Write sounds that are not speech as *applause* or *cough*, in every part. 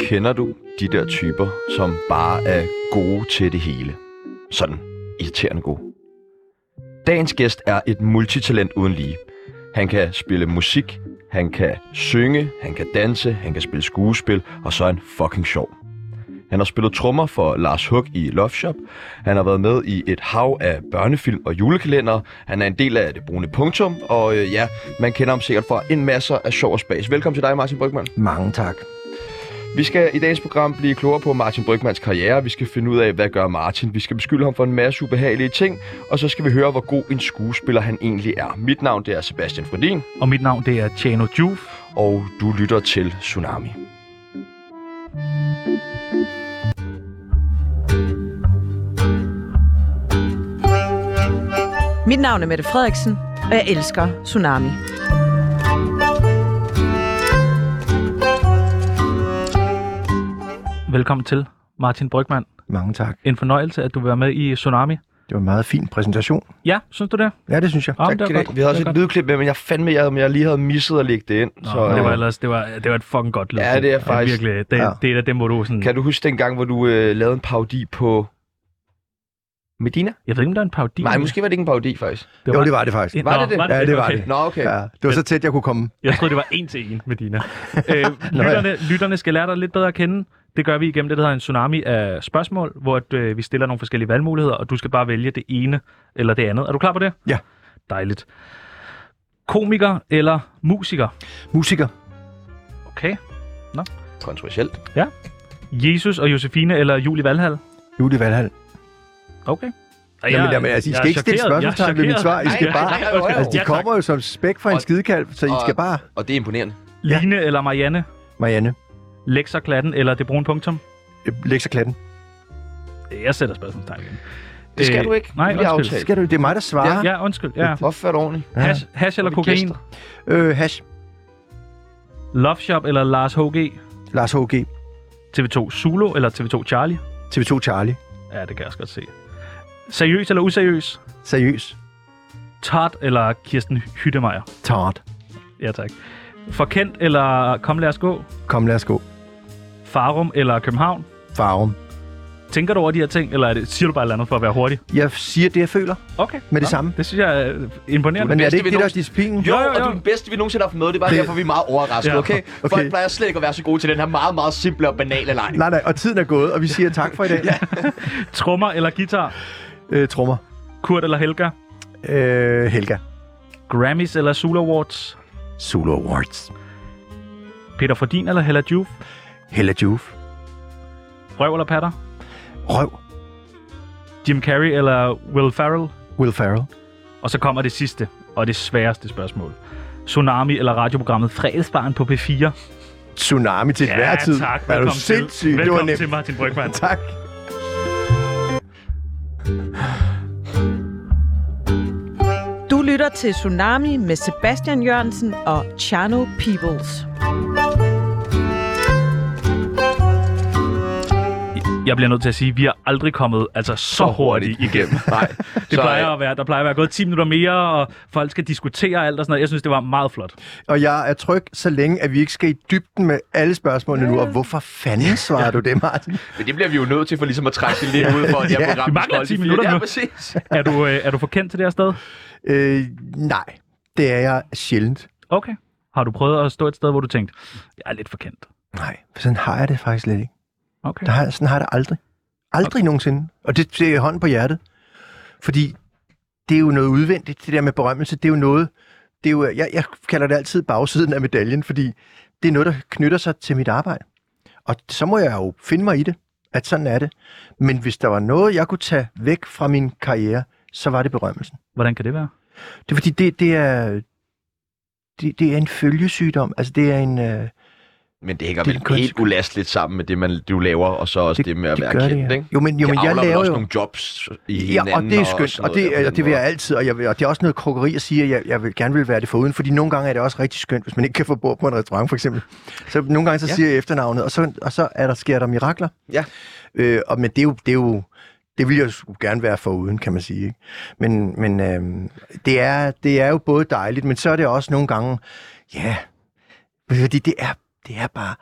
Kender du de der typer, som bare er gode til det hele? Sådan irriterende gode. Dagens gæst er et multitalent uden lige. Han kan spille musik, han kan synge, han kan danse, han kan spille skuespil, og så er han fucking sjov. Han har spillet trommer for Lars Hug i Love Shop. Han har været med i et hav af børnefilm og julekalender. Han er en del af det brune punktum, og øh, ja, man kender ham sikkert fra en masse af sjov og spas. Velkommen til dig, Martin Brygman. Mange tak. Vi skal i dagens program blive klogere på Martin Brygmans karriere. Vi skal finde ud af, hvad gør Martin. Vi skal beskylde ham for en masse ubehagelige ting. Og så skal vi høre, hvor god en skuespiller han egentlig er. Mit navn det er Sebastian Fredin, Og mit navn det er Tjano Juf. og du lytter til Tsunami. Mit navn er Mette Frederiksen, og jeg elsker Tsunami. Velkommen til, Martin Brygman. Mange tak. En fornøjelse, at du vil være med i Tsunami. Det var en meget fin præsentation. Ja, synes du det? Ja, det synes jeg. Ja, tak. men det skal I var have. godt. Vi havde også det var et lydklip med, men jeg fandme, jeg, jeg lige havde misset at lægge det ind. Nå, så, men det var øh, ellers, det var, det var et fucking godt lyd. Ja, det er faktisk- Virkelig, det, Ja. ja. det er da dem, hvor du sådan... kan du huske dengang, hvor du øh, lavede en parodi på Medina? Jeg ved ikke, om der er en parodi. Nej, måske var det ikke en parodi, faktisk. Det Jo, var... det var det faktisk. Var det det? Ja, det var okay. det. Nå, okay. Ja, det var så tæt, jeg kunne komme. Jeg troede, det var en til en med *laughs* dine. øh, lytterne, lytterne skal lære dig lidt bedre at kende. Det gør vi igennem det, der hedder en tsunami af spørgsmål, hvor at, øh, vi stiller nogle forskellige valgmuligheder, og du skal bare vælge det ene eller det andet. Er du klar på det? Ja. Dejligt. Komiker eller musiker? Musiker. Okay. Kontroversielt. Jesus og Josefine eller Julie Valhall? Julie Valhall. Okay. Og Jamen, jamen, altså, I skal ikke stille spørgsmålstegn ved mit svar. I skal Nej, bare... nej, nej, nej, nej. Altså, de Ja, tak. kommer jo som spæk fra en Og- skidekalv, så I og- skal bare... Og det er imponerende. Ja. Line eller Marianne? Marianne, Lekserklatten eller det brune punktum? øh, læg sig klatten. Jeg sætter spørgsmålstegn igen. Det skal Øh, du ikke. Nej, Det bliver undskyld. aftalt. Skal du, det er mig, der svarer. Ja, undskyld. Ja. Opfør det ordentligt. Ja. Hash, hash eller Og vi kokain? gæster. Øh, hash. Love Shop eller Lars H.G.? Lars H.G. TV2 Zulu eller TV2 Charlie? TV2 Charlie. Ja, det kan jeg også godt se. Seriøs eller useriøs? Seriøs. Tart eller Kirsten Hyttemeier? Tart. Ja, tak. Forkendt eller Kom lad os gå? Kom, lad os gå. Farum eller København? Farum. Tænker du over de her ting, eller er det, siger du bare et eller andet for at være hurtig? Jeg siger det, jeg føler Okay. med det samme. Det synes jeg er øh, imponerende. Men er det bedste, ikke vi det, der er nogensinde- disciplinen? Jo, Jo, jo, og jo. du er den bedste, vi nogensinde har haft med. Det er bare derfor, vi er meget overrasket, Ja. okay? okay? Folk Okay. plejer slet ikke at være så gode til den her meget, meget simple og banale leg. Nej, nej, og tiden er gået, og vi siger tak for i dag. Trummer eller guitar? øh, trummer. Kurt eller Helga? Øh, Helga. Grammys eller Zulu Awards? Solo Awards. Peter Fordin eller Hella Juf? Hella Juf. Røv eller patter? Røv. Jim Carrey eller Will Ferrell? Will Ferrell. Og så kommer det sidste, og det sværeste spørgsmål. Tsunami eller radioprogrammet Fredagsbarn på P4? Tsunami til hver tid. tak. er du Velkommen til. sindssyg? Det var Velkommen nemt. til Martin Brygman. Tak. Du lytter til Tsunami med Sebastian Jørgensen og Chano Peoples. *laughs* Jeg bliver nødt til at sige, at vi er aldrig kommet altså, så hurtigt igennem. *laughs* Nej. øh, Det plejer at være, der plejer at være gået 10 minutter mere, og folk skal diskutere alt og sådan noget. Jeg synes, det var meget flot. *laughs* Og jeg er tryg, så længe at vi ikke skal i dybden med alle spørgsmålene nu. Og hvorfor fanden svarer du det, Martin? Men det bliver vi jo nødt til for ligesom at trække det lidt ud for, at det her Ja. program Vi mangler skal holde 10 de fire- minutter Ja, nu. præcis. Er du, øh, er du for kendt til det her sted? Øh, nej, det er jeg sjældent. Okay. Har du prøvet at stå et sted, hvor du tænkte, jeg er lidt for kendt? Nej, sådan har jeg det faktisk slet ikke. Okay. Der har, sådan har jeg det aldrig. Aldrig okay. nogensinde. Og det ser jeg hånden på hjertet. Fordi det er jo noget udvendigt, det der med berømmelse. Det er jo noget, det er jo, jeg, jeg kalder det altid bagsiden af medaljen, fordi det er noget, der knytter sig til mit arbejde. Og så må jeg jo finde mig i det, at sådan er det. Men hvis der var noget, jeg kunne tage væk fra min karriere, så var det berømmelsen. Hvordan kan det være? Det er fordi, det, det er... Det, det er en følgesygdom. Altså, det er en... Øh, Men det hænger Det er vel kunst. helt ulasteligt sammen med det, man, du laver, og så også Altså, det, med at være gør kendt, ja. ikke? Jo, men, jo, men det jeg avler vel laver også jo... nogle jobs i Ja, hinanden. og det er skønt, sådan og det, noget der på er- det den vil jeg måde. altid, og, jeg, vil- og det er også noget krukkeri at sige, at jeg, jeg vil, gerne vil være det foruden, fordi nogle gange er det også rigtig skønt, hvis man ikke kan få bord på en restaurant, for eksempel. Så nogle gange så Ja. ja. siger jeg efternavnet, og så, og så er der, sker der mirakler. Ja. Øh, og, men det er jo... Det er jo det vil jeg jo gerne være foruden, kan man sige. Ikke? Men, men øhm, det, er, det er jo både dejligt, men så er det også nogle gange, ja, fordi det er, det er bare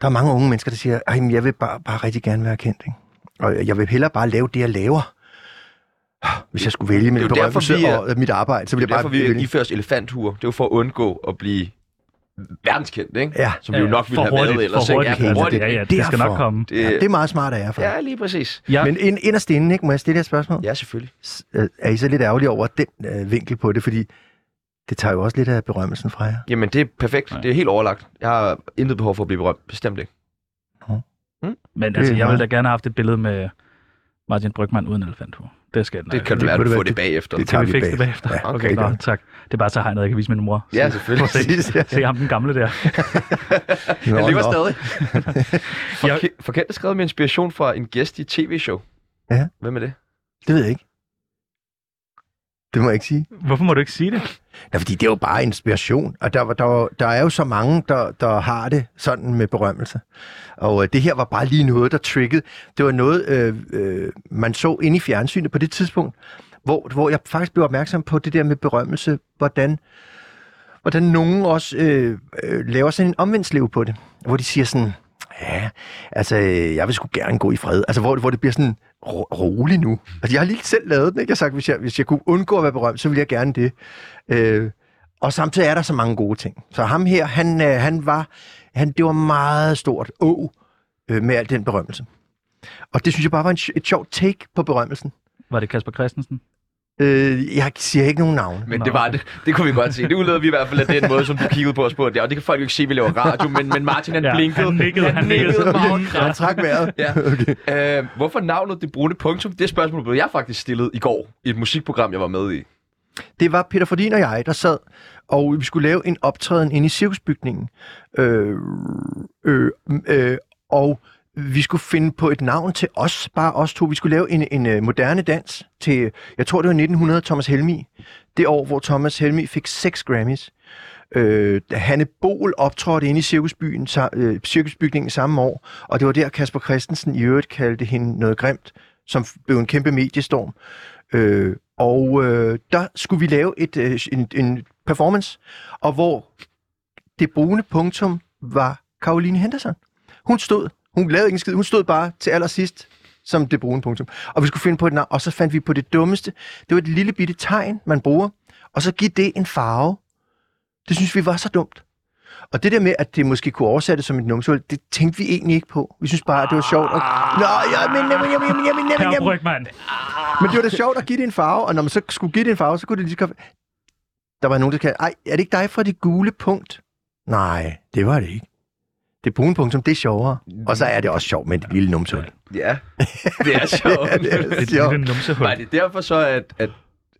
Der er mange unge mennesker, der siger, at jeg vil bare, bare rigtig gerne være kendt. Ikke? Og jeg vil hellere bare lave det, jeg laver. Hvis jeg skulle vælge Det er mellem jo derfor, berømmelse vi er- og øh, mit arbejde, så Det er ville jeg derfor, bare vi vælge. ifører os elefanthuer. Det er jo for at undgå at blive verdenskendt, ikke? Ja. Som vi jo nok ville have været ellers. for hurtigt. ikke? Altså, Ja, Ja, hurtigt. hurtigt. Ja, ja, det skal nok Derfor. komme. Det, ja, det er meget smart af jer. For. Ja. ja, lige præcis. Ja, Men ind, inderst inde, ikke, må jeg stille jer et spørgsmål? Ja, selvfølgelig. S- øh, Er I så lidt ærgerlige over den øh, vinkel på det? Fordi det tager jo også lidt af berømmelsen fra jer. Jamen, det er perfekt. Ja. Det er helt overlagt. Jeg har intet behov for at blive berømt. Bestemt ikke. men altså, er jeg ville da meget- gerne have haft et billede med Martin Brygman uden elefanthue. Det skal jeg nok. Det kan det du være, må du det får være- det bagefter. det- kan tager vi vi fikse det bagefter. bagefter. Ja, okay, okay, nå, godt. tak. Det er bare så hegnet, jeg kan vise min mor. Ja, *laughs* selvfølgelig. Præcis, *laughs* ja. Se ham den gamle der. Jeg lever *laughs* stadig. Jeg- Forke- Forkendt er skrevet med inspiration fra en gæst i et tv-show. Ja. Hvem er det? Det ved jeg ikke. Det må jeg ikke sige. Hvorfor må du ikke sige det? Ja, fordi det er jo bare inspiration, og der, var- der, var- der er jo så mange, der, der har det sådan med berømmelse. Og øh, det her var bare lige noget, der triggede. Det var noget, øh, øh, man så inde i fjernsynet på det tidspunkt, hvor, hvor jeg faktisk blev opmærksom på det der med berømmelse, hvordan, hvordan nogen også øh, øh, laver sådan en omvendslev på det, hvor de siger sådan, ja, altså, øh, jeg vil sgu gerne gå i fred. Altså, hvor, hvor det bliver sådan ro- rolig nu. Altså, jeg har lige selv lavet den, ikke? Jeg har sagt, hvis jeg, hvis jeg kunne undgå at være berømt, så ville jeg gerne det. Øh, og samtidig er der så mange gode ting. Så ham her, han, øh, han var, han, det var meget stort å øh, med al den berømmelse. Og det synes jeg bare var en, sj- et sjovt take på berømmelsen. Var det Kasper Christensen? Øh, jeg siger ikke nogen navne. Men Nå. det var det. Det kunne vi godt se. Det udleder vi i hvert fald af den måde, som du kiggede på os på. Ja, og det kan folk jo ikke se, vi laver radio, men, men Martin han Ja, ja, blinkede. han nikkede, han nikkede. meget Han kraftigt. trak vejret. *laughs* Ja. Okay. Øh, hvorfor navnet Det Brune Punktum? Det spørgsmål blev jeg faktisk stillet i går i et musikprogram, jeg var med i. Det var Peter Fordin og jeg, der sad, og vi skulle lave en optræden inde i cirkusbygningen. Øh, øh, øh, og vi skulle finde på et navn til os, bare os to. Vi skulle lave en, en øh, moderne dans til, jeg tror det var 1900, Thomas Helmi. Det år, hvor Thomas Helmi fik 6 Grammys. Øh, da Hanne Bol optrådte inde i cirkusbyen, sa, øh, cirkusbygningen samme år, og det var der Kasper Christensen i øvrigt kaldte hende noget grimt, som f- blev en kæmpe mediestorm. Øh, og øh, der skulle vi lave et, øh, en, en performance, og hvor det brune punktum var Caroline Henderson. Hun stod, hun lavede ikke en skid, hun stod bare til allersidst som det brune punktum. Og vi skulle finde på et navn, og så fandt vi på det dummeste. Det var et lille bitte tegn, man bruger, og så give det en farve. Det synes vi var så dumt. Og det der med, at det måske kunne oversættes som et numsehul, det tænkte vi egentlig ikke på. Vi synes bare, at det var sjovt. Og... Nå, ja, men, jamen, jamen, jamen, jamen, jamen, Herre jamen. Brygman. Men det var da sjovt at give det en farve, og når man så skulle give det en farve, så kunne det lige så godt... Der var nogen, der kaldte, ej, er det ikke dig fra det gule punkt? Nej, det var det ikke. Det brune punkt, som det er sjovere. Og så er det også sjovt med det lille numsehul. Ja, *laughs* det er sjovt. Ja, det er Det Jo. er en numsehul. Var det derfor så, at, at,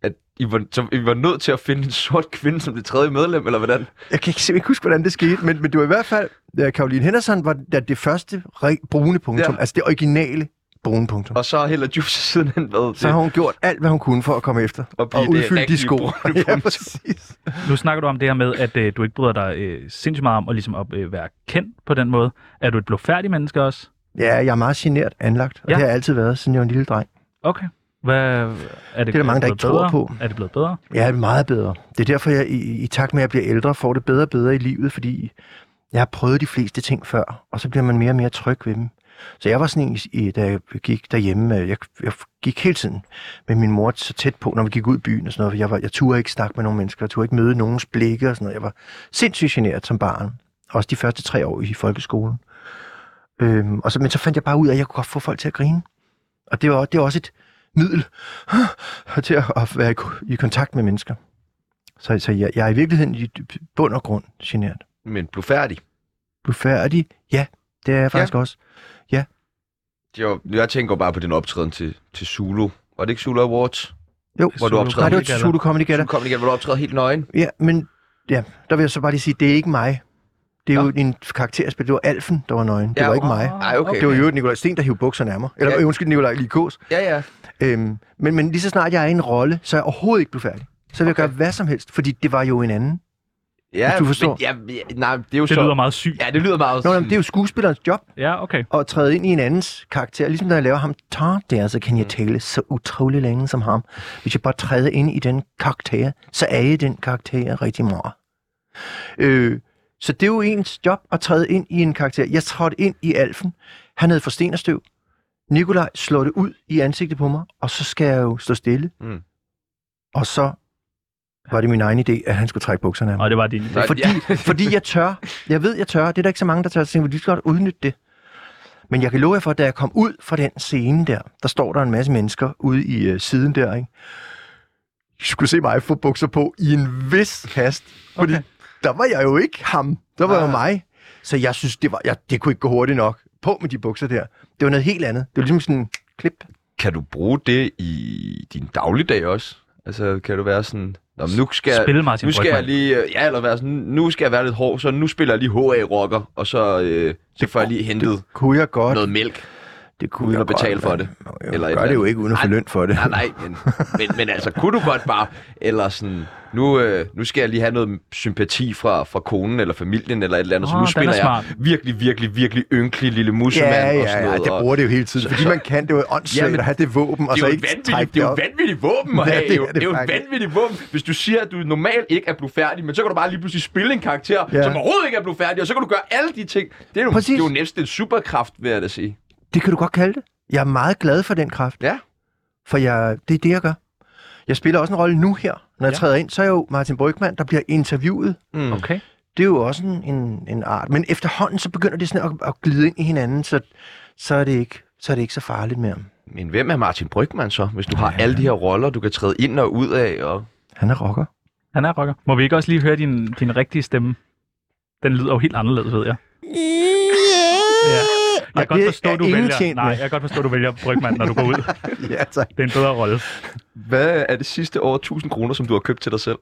at I, var, så I var nødt til at finde en sort kvinde som det tredje medlem, eller hvordan? Jeg kan ikke simpelthen ikke huske, hvordan det skete, men, men det var i hvert fald, ja, Caroline Henderson var da det første re- brune punktum, Ja. ja. altså det originale brune punktum. Og så har Hella Juice sidenhen været Så har hun gjort alt, hvad hun kunne for at komme efter Og og, blive og det udfylde de rigtige sko. brune *laughs* Ja, punktum. præcis. Nu snakker du om det her med, at øh, du ikke bryder dig øh, sindssygt meget om at, ligesom at øh, være kendt på den måde. Er du et blåfærdigt menneske også? Ja, jeg er meget genert anlagt, og Ja. ja. det har jeg altid været, siden jeg var en lille dreng. Okay. Hvad, er det, der mange, der blevet ikke tror bedre? på. Er det blevet bedre? Jeg er meget bedre. Det er derfor, jeg i, i takt med, at jeg bliver ældre, får det bedre og bedre i livet, fordi jeg har prøvet de fleste ting før, og så bliver man mere og mere tryg ved dem. Så jeg var sådan en, i- da jeg gik derhjemme, øh, jeg, jeg gik hele tiden med min mor så tæt på, når vi gik ud i byen og sådan noget, for jeg, var, jeg turde ikke snakke med nogen mennesker, jeg turde ikke møde nogens blikke og sådan noget. Jeg var sindssygt generet som barn, også de første tre år i folkeskolen. Øhm, og så, men så fandt jeg bare ud af, at jeg kunne godt få folk til at grine. Og det var, det var også et middel til at, at være i, ko- i kontakt med mennesker. Så, så jeg, jeg er i virkeligheden i dyb- bund og grund genert. Men blev færdig. Blufærdig? Ja, det er jeg faktisk ja. også. Jo, jeg tænker bare på din optræden til, til Zulu. Var det ikke Zulu Awards? Jo, Hvor du optræder nej, det var helt til Zulu Comedy Zulu Gala. kom igen, hvor du optræder helt nøgen. Ja, men ja, der vil jeg så bare lige sige, det er ikke mig. Det er jo en karakterspil. Det var Alfen, der var nøgen. Det Ja, var ikke åh, mig. Ah, Nej, okay. Det var jo Nikolaj Sten, der hiv bukserne af mig. Eller Ja. ja. undskyld, Nikolaj Likås. Ja, ja. Øhm, men, men lige så snart jeg er i en rolle, så er jeg overhovedet ikke blufærdig. Så vil jeg Okay. gøre hvad som helst, fordi det var jo en anden. Ja, Hvis du forstår. Men, ja, ja, nej, det er jo Det så... lyder meget sygt. Ja, det lyder meget... Nå, jamen, det er jo skuespillerens job. Ja, okay. at træde ind i en andens karakter. Ligesom når jeg laver ham tar der, så kan jeg tale så utrolig længe som ham. Hvis jeg bare træder ind i den karakter, så er jeg den karakter rigtig meget. Øh, Så det er jo ens job at træde ind i en karakter. Jeg trådte ind i Alfen. Han havde for sten og støv. Nikolaj slår det ud i ansigtet på mig, og så skal jeg jo stå stille. Mm. Og så var det min egen idé, at han skulle trække bukserne af mig. Og det var din. Nej, Fordi, ja. fordi jeg tør. Jeg ved, jeg tør. Det er der ikke så mange, der tør. Så tænker, vi lige så godt udnytte det. Men jeg kan love jer for, at da jeg kom ud fra den scene der, der står der en masse mennesker ude i øh, siden der, ikke? I skulle se mig få bukser på i en vis hast. Fordi okay. Ah. der var jeg jo ikke ham. Der var jo mig. Så jeg synes, det, var, jeg, det kunne ikke gå hurtigt nok. På med de bukser der. Det var noget helt andet. Det var ligesom sådan en klip. Kan du bruge det i din dagligdag også? Altså, kan du være sådan... Nå, men nu skal, jeg- Spille Martin nu skal jeg Brygmann." lige, øh, ja, eller være sådan, nu skal jeg være lidt hård, så nu spiller jeg lige HA-rocker, og så, øh, så får jeg lige hentet Kunne jeg godt. noget mælk. det kunne uden jeg at betale godt, for men- det. Nå, Eller Jo, et eller eller gør det jo andet. ikke uden at få Nej. løn for det. Nej, nej, men, men, men altså, kunne du godt bare, eller sådan, nu, øh, nu skal jeg lige have noget sympati fra, fra konen eller familien eller et eller andet, oh, så nu Åh, den er spiller jeg smart. virkelig, virkelig, virkelig ynkelig lille musemand Ja, og sådan ja, ja, noget. det og- bruger det jo hele tiden, fordi man kan. Det er jo åndssvagt Jamen, at have det våben, og det så er jo et ikke trække vanvittigt, det det er jo op. et vanvittigt våben at Ja, have. det er jo. det det er jo et faktisk. vanvittigt våben. Hvis du siger, at du normalt ikke er blevet færdig, men så kan du bare lige pludselig spille en karakter, Ja. som overhovedet ikke er blevet færdig, og så kan du gøre alle de ting. Det er jo, det Præcis. er jo næsten en superkraft, vil jeg da sige. Det kan du godt kalde det. Jeg er meget glad for den kraft. Ja. For jeg, det er det, jeg gør. Jeg spiller også en rolle nu her. Når jeg Ja. træder ind, så er jeg jo Martin Brygman, der bliver interviewet. Mm. Okay. Det er jo også en, en, en art. Men efterhånden, så begynder det sådan at, at glide ind i hinanden, så, så, er det ikke, så er det ikke så farligt mere. Men hvem er Martin Brygman så, hvis du har alle de her roller, du kan træde ind og ud af? Og... Han er rocker. Han er rocker. Må vi ikke også lige høre din, din rigtige stemme? Den lyder jo helt anderledes, ved jeg. Ja. Og Jeg kan godt det forstå, er du ingen vælger... tjent med. Nej, jeg kan godt forstå, du vælger Brygman, når du går ud. *laughs* Ja, tak. Det er en bedre rolle. Hvad er det sidste over 1000 kroner, som du har købt til dig selv?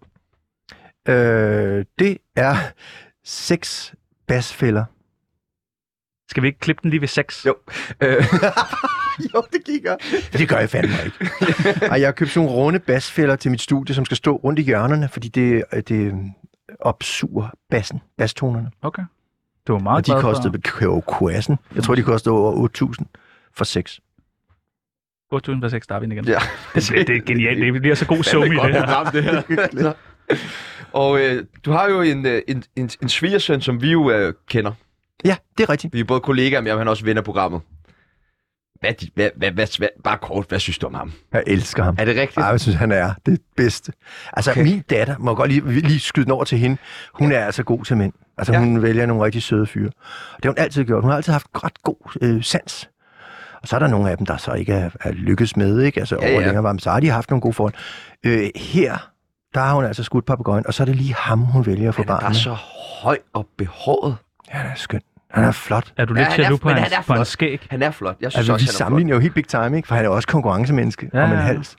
Øh, det er seks basfælder. Skal vi ikke klippe den lige ved 6? Jo. Øh, jo, det gik jeg. Det gør jeg fandme ikke. *laughs* Ej, jeg har købt sådan nogle runde basfælder til mit studie, som skal stå rundt i hjørnerne, fordi det, øh, det opsuger bassen, bastonerne. Okay. Det var meget Og de glad kostede for. jo kuassen. Jeg tror, de kostede over 8.000 for seks. 8.000 for 6, der er vi inde igen. ja. Det, det er genialt. Det bliver så god Fandme sum i et godt det her. program, det *laughs* her. Altså. og øh, du har jo en, øh, en, en, en svigersøn, som vi jo øh, kender. Ja, det er rigtigt. Vi er både kollegaer, men jeg- han er også ven af programmet. Hvad, de- hvad, hvad, hvad, hvad, bare kort, hvad synes du om ham? Jeg elsker ham. Er det rigtigt? Ej, jeg synes, han er det bedste. Altså, Okay. okay. min datter, må jeg godt lige, lige skyde den over til hende, hun er altså god til mænd. Altså, Ja. ja. hun vælger nogle rigtig søde fyre. Og det har hun altid gjort. Hun har altid haft ret god øh, sans. Og så er der nogle af dem, der så ikke er, er lykkes med, ikke? Altså, Ja, ja, over ja. ja. længere varme, så har de haft nogle gode forhold. Øh, her, der har hun altså skudt papegøjen, og så er det lige ham, hun vælger at få han er barn bare med. så høj og behåret. Ja, han er skøn. Han er flot. Er du lidt Ja, han er- jaloux på men hans, han er på hans flot. skæg? Han er flot. Jeg synes Altså, også, vi han er flot. sammenligner jo helt big time, ikke? For han er jo også konkurrencemenneske Ja, ja, om en ja, ja. hals.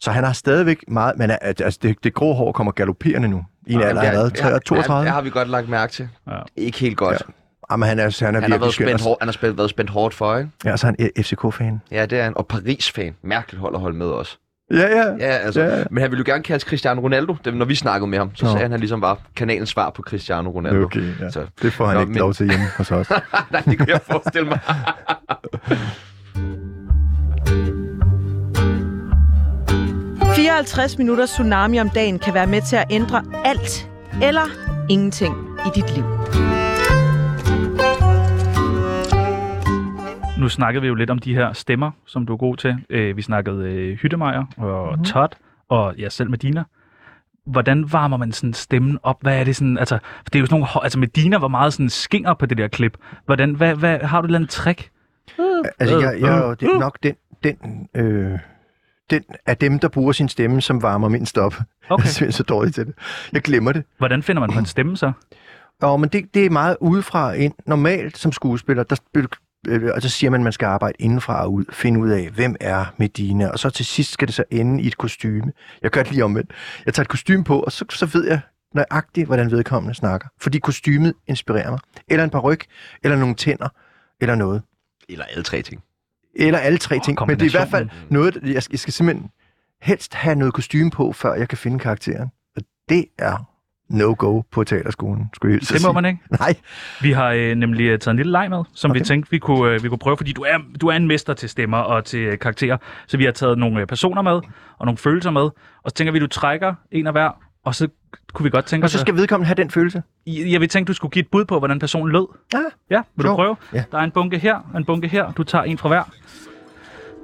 Så han har stadigvæk meget... Men altså, det, det grå hår kommer galopperende nu. I en Jamen, alder det af er- hvad? det har- 32? Ja, det har vi godt lagt mærke til. Ja. Ikke helt godt. Ja, Jamen, han er, han er han, har virkelig været skøn. spændt og- hård, han har spændt, været spændt hårdt for, ikke? Ja, og så er han øh, FCK-fan. Ja, det er han. Og Paris-fan. Mærkeligt hold at holde med os. Ja, ja. Ja, altså. Ja, ja. Men han ville jo gerne kaldes Cristiano Ronaldo, da- når vi snakkede med ham. Så Nå. sagde han, at han ligesom var kanalens svar på Cristiano Ronaldo. Okay, ja. Så- Det får han Nå, ikke men- lov til hjemme hos os. *laughs* Nej, det kan jeg forestille mig. Ja. 54 minutter tsunami om dagen kan være med til at ændre alt eller ingenting i dit liv. Nu snakkede vi jo lidt om de her stemmer, som du er god til. Øh, vi snakkede øh, Hyttemeier og mm-hmm. Todd, og ja, selv med Dina. Hvordan varmer man sådan stemmen op? Hvad er det sådan, altså, for det er jo sådan nogle, hår- altså med Dina var meget sådan skinger på det der klip. Hvordan, hvad, hvad, har du et eller andet trick? Altså, jeg, jeg er jo det er nok den... den øh, den af dem, der bruger sin stemme, som varmer mindst op. Okay. *laughs* Jeg er Okay. simpelthen så dårlig til det. Jeg glemmer det. Hvordan finder man på en stemme så? Og, men det, det er meget udefra og ind. Normalt som skuespiller, der spil, øh, og så siger man, at man skal arbejde indenfra og ud. Finde ud af, hvem er Medina. Og så til sidst skal det så ende i et kostyme. Jeg gør det lige omvendt. Jeg tager et kostume på, og så, så ved jeg nøjagtigt, hvordan vedkommende snakker. Fordi kostymet inspirerer mig. Eller en par ryg, eller nogle tænder, eller noget. Eller alle tre ting. Eller alle tre Åh, oh, ting. Men det er i hvert fald kombinationen. noget, jeg skal, jeg skal simpelthen helst have noget kostume på, før jeg kan finde karakteren. Og det er no-go på teaterskolen, skulle jeg hilse at Det må sige. man ikke. Nej, Vi har øh, nemlig øh, taget en lille leg med, som okay. vi Okay. tænkte, vi kunne, øh, vi kunne prøve, fordi du er, du er en mester til stemmer og til øh, karakterer. Så vi har taget nogle øh, personer med, og nogle følelser med, og så tænker vi, du trækker en af hver, Og så kunne vi godt tænke Og os... så at- skal vedkommende have den følelse. Jeg jeg vil tænke, du skulle give et bud på, hvordan personen lød. Ja. Ja, vil du Jo. prøve? Ja. Der er en bunke her, og en bunke her. Du tager en fra hver.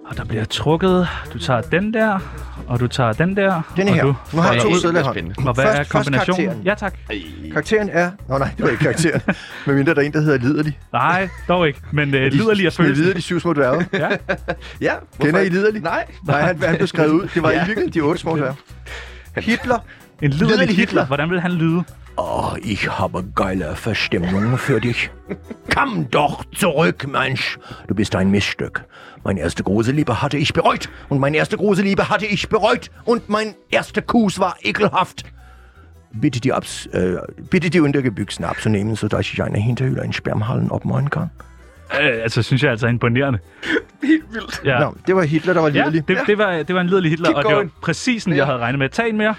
Og der bliver trukket. Du tager den der, og du tager den der. Den og her. Du, Nu har Hold jeg to da ud, sædler i det er hånden. spændende. og hvad Først- er først kombinationen? karakteren. Ja tak. Karakteren er... Nå nej, det var ikke *laughs* karakteren. Medmindre der er en, der hedder Liderlig. Nej, dog ikke. Men øh, lyderlig er følelsen. følelsen. Liderlig syv små dværge. Ja. Ja, Kender I Liderlig? Nej. Nej, han, han blev skrevet ud. Det var i virkeligheden de otte små dværge. Hitler. En lyderlig Liderlig Hitler. Hitler. Hvordan vil han lyde? Oh, ich habe geile Verstimmungen für dich. Komm doch zurück, Mensch. Du bist ein Missstück. Meine erste große Liebe hatte ich bereut. Und meine erste große Liebe hatte ich bereut. Und mein erster Kuss war ekelhaft. Bitte die, Abs äh, bitte die Untergebüchsen abzunehmen, sodass ich eine Hinterhöhle in Spermhallen abmalen kann. Øh, altså, synes jeg altså er imponerende. Helt vildt. Ja. Nå, det var Hitler, der var Ja, lidelig. det, det, var, det var en lyderlig Hitler, Keep og det var going. præcis den, jeg havde regnet med. Tag en mere.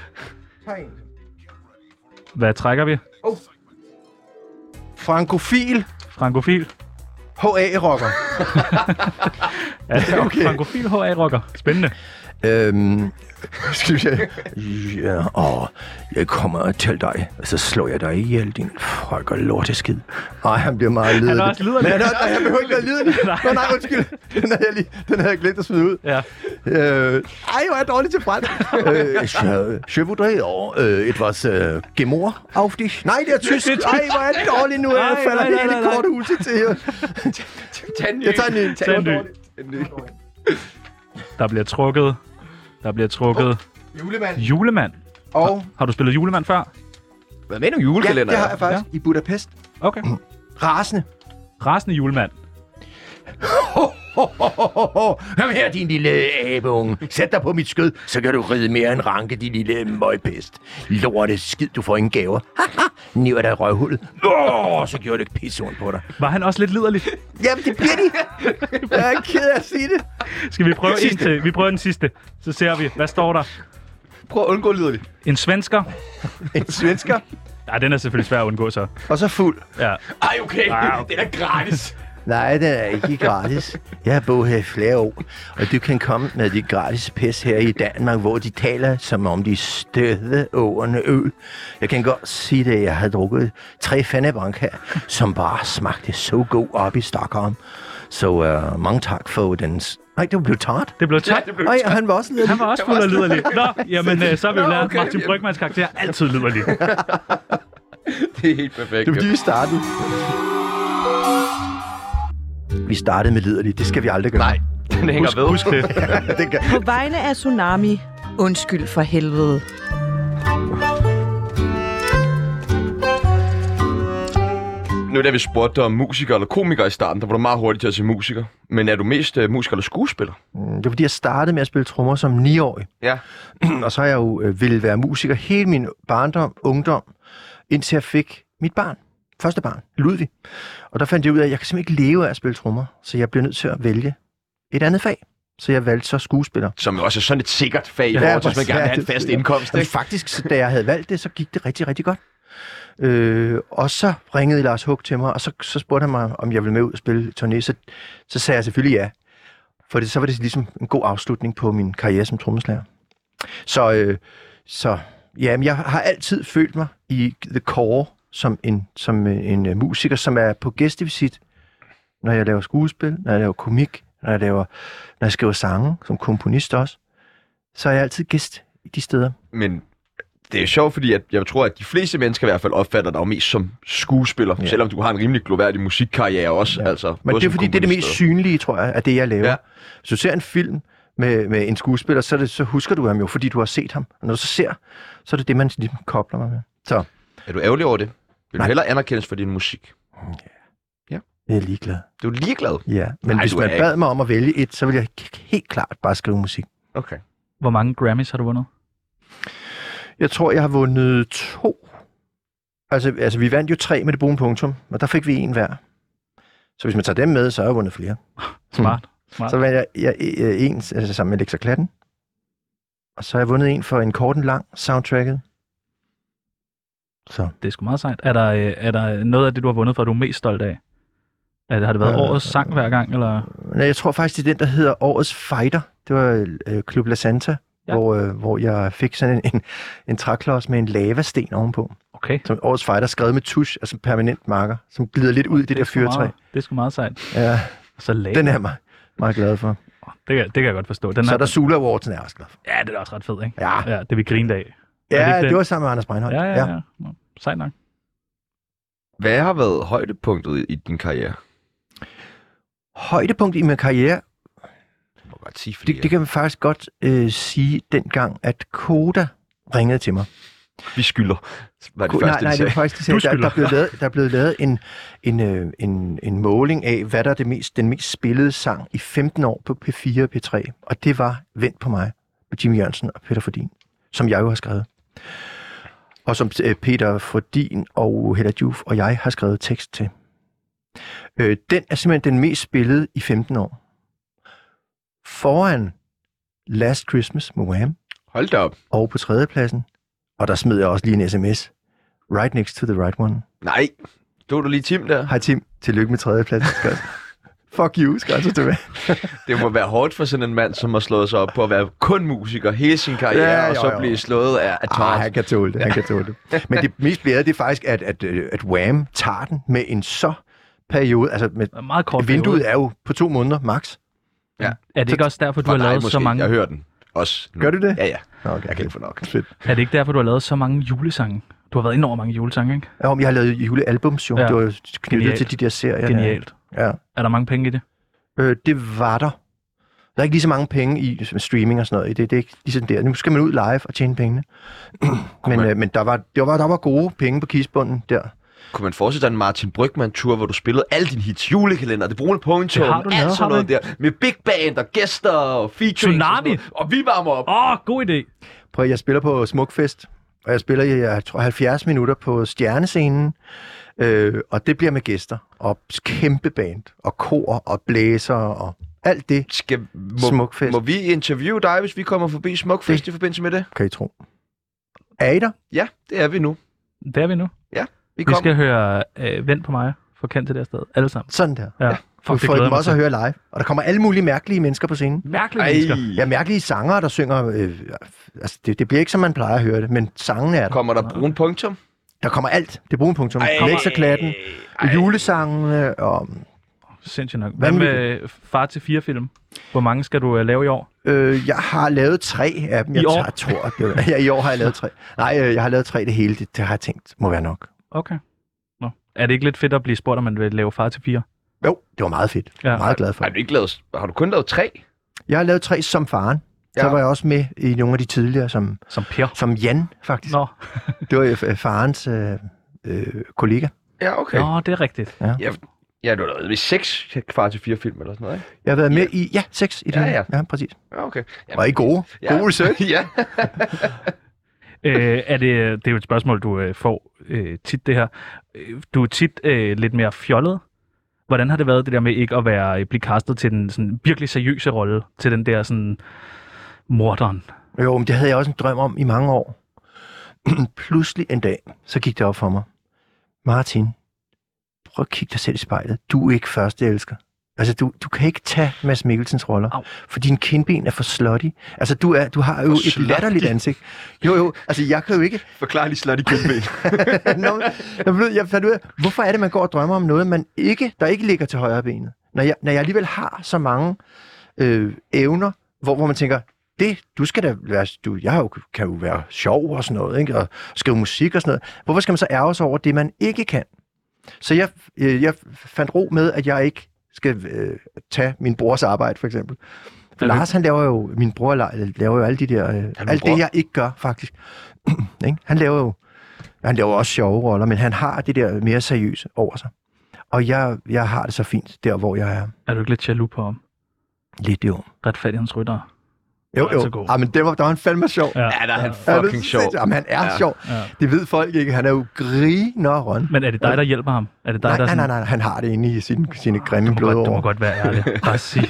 Hvad trækker vi? Frankofil. Frankofil. HA-rocker. Ja, det er okay. Frankofil HA-rocker. Spændende. Øhm, *laughs* skal vi se. Ja, åh, jeg kommer til dig, og så slår jeg dig ihjel, din fucker lorteskid. Nej, han bliver meget lidelig. også Men liderlig. han, er- nej, han behøver ikke være lidelig. Nej. nej. Nå, nej, undskyld. Den havde jeg, lige, den havde jeg glemt at smide ud. Ja. Øh, ej, hvor er jeg dårlig til *laughs* fransk. øh, je, je voudrais over øh, etwas øh, gemor auf dich. Nej, det er tysk. Ej, hvor er det dårligt nu. Jeg Nej, falder nej, nej, hele nej, nej. kortet huset til her. Tag en ny. Jeg tager en ny. Tag en ny. en ny. Der bliver trukket. Der bliver trukket. Julemand. Julemand. Og Har du spillet julemand før? Hvad mener du ja, julekalender? det har jeg faktisk i Budapest. Okay. Rasende. Rasende julemand. *laughs* Kom her, din lille abeunge. Sæt dig på mit skød, så kan du ride mere end ranke, din lille møgpest. Lorte skid, du får ingen gaver. Haha, niver dig i røvhullet. Åh, så gjorde det pissehund på dig. Var han også lidt liderlig? Jamen, det bliver de. *laughs* Jeg er ked af at sige det. Skal vi prøve en Sidste. til? Vi prøver den sidste. Så ser vi, hvad står der? Prøv at undgå liderlig. En svensker. En svensker, Ja, den er selvfølgelig svær at undgå så. og så fuld. Ja. Ej, okay. Ah, Det er gratis. Nej, den er ikke gratis. Jeg har boet her i flere år, og du kan komme med dit gratis pis her i Danmark, hvor de taler som om de støde årene øl. Jeg kan godt sige det, jeg har drukket tre fandebank her, som bare smagte så god op i Stockholm. Så uh, mange tak for den... s- Nej, det blev tart. Det blev top. det blev Nej, og han var også lidt... Han var også fuld af liderlig. Nå, jamen, øh, så har vi jo Nå, lært okay. Martin Brygmans karakter er altid liderlig. *laughs* Det er helt perfekt. Det var fordi, vi startede. Vi startede med liderligt. Det skal vi aldrig gøre. Nej, den hænger Husk, ved. husk det. det gør... På vegne af Tsunami, undskyld for helvede. Nu da vi spurgte dig om musiker eller komiker i starten, der var du meget hurtig til at sige musiker. Men er du mest uh, musiker eller skuespiller? Mm, Det var fordi, jeg startede med at spille trommer som 9-årig. Ja. *clears throat* og så har jeg jo øh, ville være musiker hele min barndom, ungdom, indtil jeg fik mit barn. Første barn, Ludvig. Og der fandt jeg ud af, at jeg kan simpelthen ikke leve af at spille trommer, så jeg blev nødt til at vælge et andet fag. Så jeg valgte så skuespiller. Som jo også er sådan et sikkert fag, i Ja, forhold til, hvis man præcis. gerne vil have Ja, en det- fast indkomst. Men Ikke? faktisk, så da jeg havde valgt det, så gik det rigtig, rigtig godt. Øh, og så ringede Lars Hug til mig, og så, så spurgte han mig, om jeg ville med ud og spille turné. Så, så sagde jeg selvfølgelig ja. For det, så var det ligesom en god afslutning på min karriere som trommeslager. Så, øh, så ja, men jeg har altid følt mig i The Core som en, som øh, en øh, musiker, som er på gæstevisit, når jeg laver skuespil, når jeg laver komik, når jeg, laver, når jeg skriver sange, som komponist også. Så er jeg altid gæst i de steder. Men det er sjovt, fordi at jeg tror, at de fleste mennesker i hvert fald opfatter dig jo mest som skuespiller. Ja. Selvom du har en rimelig gloværdig musikkarriere også. Ja. Altså, Men det er fordi, det er det mest synlige, tror jeg, af det, jeg laver. Ja. Ja. Hvis du ser en film med, med en skuespiller, så, er det, så husker du ham jo, fordi du har set ham. Og når du så ser, så er det det, man ligesom kobler mig med. Så Er du ærgerlig over det? Vil du Nej. hellere anerkendes for din musik? jeg er ligeglad. Du er ligeglad. Ja, men Nej, Ej, hvis du er man ikke. bad mig om at vælge et, så ville jeg k- helt klart bare skrive musik. Okay. Hvor mange Grammys har du vundet? Jeg tror, jeg har vundet to. Altså, altså vi vandt jo tre med det brune punktum, og der fik vi en hver. Så hvis man tager dem med, så har jeg vundet flere. Smart. Smart. Så vandt jeg, jeg, jeg en altså, sammen med Alexa Klatten. Og så har jeg vundet en for en kort en lang soundtracket. Så. Det er sgu meget sejt. Er der, øh, er der noget af det, du har vundet for, du er mest stolt af? Er det, har det været Øh, årets sang hver gang, eller? Nej, jeg tror faktisk, det er den, der hedder Årets Fighter. Det var øh, Klub La Santa Ja. ja. hvor, øh, hvor jeg fik sådan en, en, en træklods med en lavasten ovenpå, Okay. som årets fighter skrevet med tusch, altså permanent marker, som glider lidt ud i det, det der sgu fyrtræ. meget- Det er sgu meget sejt. Ja, Så lag. den er jeg meget, meget glad for. Det, kan, det kan jeg godt forstå. Den Så er der er, Sula Awards, den er jeg også glad for. ja, det er også ret fed, ikke? Ja, Ja, det vi grinede af. er det ja ikke det, den? var sammen med Anders Breinholt. Ja, ja, ja. ja. Nå, Sejt nok. Hvad har været højdepunktet i- i din karriere? Højdepunkt i min karriere Det må jeg godt sige, fordi Det, det kan man faktisk godt øh, sige dengang, at Koda ringede til mig. vi skylder. Var det Ko- nej, første, nej, de det var sagde. faktisk, de Du sagde, der, skylder. der, blev lavet, der blev lavet en, en, øh, en, en måling af, hvad der er det mest, den mest spillede sang i 15 år på P4 og P3. Og det var Vent på mig med Jimmy Jørgensen og Peter Fordin, som jeg jo har skrevet. Og som øh, Peter Fordin og Hella Juf og jeg har skrevet tekst til. Øh, den er simpelthen den mest spillede i 15 år. Foran Last Christmas med Wham! Hold da op. og på tredjepladsen. Og der smed jeg også lige en sms. Right next to the right one. Nej, stod du lige Tim der? Hej Tim, tillykke med tredjepladsen, skat. *laughs* Fuck you, skat, så tilbage. Det må være hårdt for sådan en mand, som har slået sig op på at være kun musiker hele sin karriere, Ja, ja, jo, og jo, så jo. blive slået af at *laughs* Ah, ah, han kan tåle det, han kan tåle det. Men det mest blæde, det er faktisk, at, at, øh, at Wham tager den med en så periode. Altså, med, Det er Meget kort periode. vinduet er jo på to måneder, max. Er det ikke også derfor, du For har dig lavet måske. så mange... Jeg hører den også. Nu. Gør du det? Ja, ja. Nå, okay. Jeg kan ikke få nok. Fedt. Er det ikke derfor, du har lavet så mange julesange? Du har været ind over mange julesange, ikke? Ja, om jeg har lavet julealbums, jo. Ja. Ja. Det var jo knyttet Genialt. Genialt. til de der serier. der. Genialt. Ja. Er der mange penge i det? Øh, det var der. Der er ikke lige så mange penge i som streaming og sådan noget. i Det, det er ikke ligesom der. Nu skal man ud live og tjene pengene. *clears throat* men man- øh, men der, var, der, var, der var gode penge på kisbunden der. Kunne man forestille dig en Martin Brygman-tur, hvor du spillede alle dine hits, julekalender, det brune pogentog, Det har du alt lavet, har sådan du noget der, med big band og gæster og featuring. Og, Tsunami. sådan noget. og vi varmer op. Åh, oh, god idé. Prøv, at- jeg spiller på Smukfest, og jeg spiller i jeg tror, 70 minutter på stjernescenen. Øh, og det bliver med gæster, og kæmpe band, og kor, og blæser, og alt det, Skal, må, Smukfest. må vi interviewe dig, hvis vi kommer forbi Smukfest i forbindelse med det? kan I tro. Er I der? Ja, det er vi nu. Det er vi nu. Vi Vi kommer. skal høre øh, Vent på mig fra Kant til det her sted. Alle sammen. Sådan der. Ja. For Fuck, det får I glæder dem jeg mig også at til. høre live. Og der kommer alle mulige mærkelige mennesker på scenen. Mærkelige mennesker. Ej, Ja, mærkelige sanger, der synger... Øh, altså, det, det bliver ikke, som man plejer at høre det, men sangen er der. Kom. kommer der brun punktum? Der kommer alt. Det bruger punktum. Lekserklatten, Ej. julesangene og... Sindssygt nok. Hvad Hvad med med øh, Far til fire film? Hvor mange skal du øh, lave i år? Øh, jeg har lavet tre af dem. I Jeg år? tager to af dem. Ja, i år har jeg lavet tre. Nej, øh, jeg har lavet tre det hele. Det, det har jeg tænkt må være nok. Okay. Nå. Er det ikke lidt fedt at blive spurgt, om man vil lave Far til fire? Jo, det var meget fedt. Ja. Ja. Meget glad for Har det. du, ikke lavet, har du kun lavet tre? Jeg har lavet tre som faren. Ja. Så Ja. var jeg også med i nogle af de tidligere, som, Som *laughs* Per. som Jan faktisk. Nå. Nå. Det var øh, farens øh, øh, kollega. Ja, okay. Nå, det er rigtigt. Ja, du har lavet ved seks kvart til fire film eller sådan noget, ikke? Jeg har været med i... Ja, seks i det Ja, her. ja. ja, præcis. Ja, okay. Ja, Og I er gode. ja. Gode research. *laughs* ja. øh, er det, det er jo et spørgsmål, du øh, får øh, tit det her. Øh, Du er tit øh, lidt mere fjollet. Hvordan har det været det der med ikke at være, øh, blive castet til den sådan, virkelig seriøse rolle, til den der sådan morderen? Jo, men det havde jeg også en drøm om i mange år. *clears throat* Pludselig en dag, så gik det op for mig. Martin, prøv at kigge dig selv i spejlet. Du er ikke første elsker. Altså, du, du kan ikke tage Mads Mikkelsens roller, Au. Au. for dine kindben er for slutty. Altså, du, er, du har jo For et slutty? latterligt ansigt. Jo, jo, altså, jeg kan jo ikke... *laughs* Forklar lige slot i kæmpe. Nå, men- jeg, blev, jeg fandt ud af, hvorfor er det, man går og drømmer om noget, man ikke, der ikke ligger til højre benet? Når jeg, når jeg alligevel har så mange øh, evner, hvor, hvor man tænker, det, du skal da være, du, jeg har jo, kan jo være sjov og sådan noget, ikke? og skrive musik og sådan noget. Hvorfor skal man så ærge sig over det, man ikke kan? Så jeg, øh, jeg fandt ro med, at jeg ikke skal øh, tage min brors arbejde, for eksempel. For Er det- Lars, han laver jo, min bror la- laver jo alle de der, øh, alt bror. det, jeg ikke gør, faktisk. *clears throat* ikke? Han laver jo, han laver også sjove roller, men han har det der mere seriøse over sig. Og jeg, jeg har det så fint, der hvor jeg er Er du ikke lidt jaloux på ham? lidt jo. Retfærdighedens ryttere. Jo, Altså jo. god. Ah, men det var, der var han fandme sjov. Ja. *laughs* ja, der er han Ja, fucking sjov. Jamen, "Ah, han er Ja. ja. sjov. Ja. Det ved folk ikke. Han er jo grineren. Men er det dig, der hjælper ham? Er det dig, Nej, der nej, sådan, nej, nej, han har det inde i sine, sine grimme Du, må godt, du må blodår. godt være ærlig. Bare sig,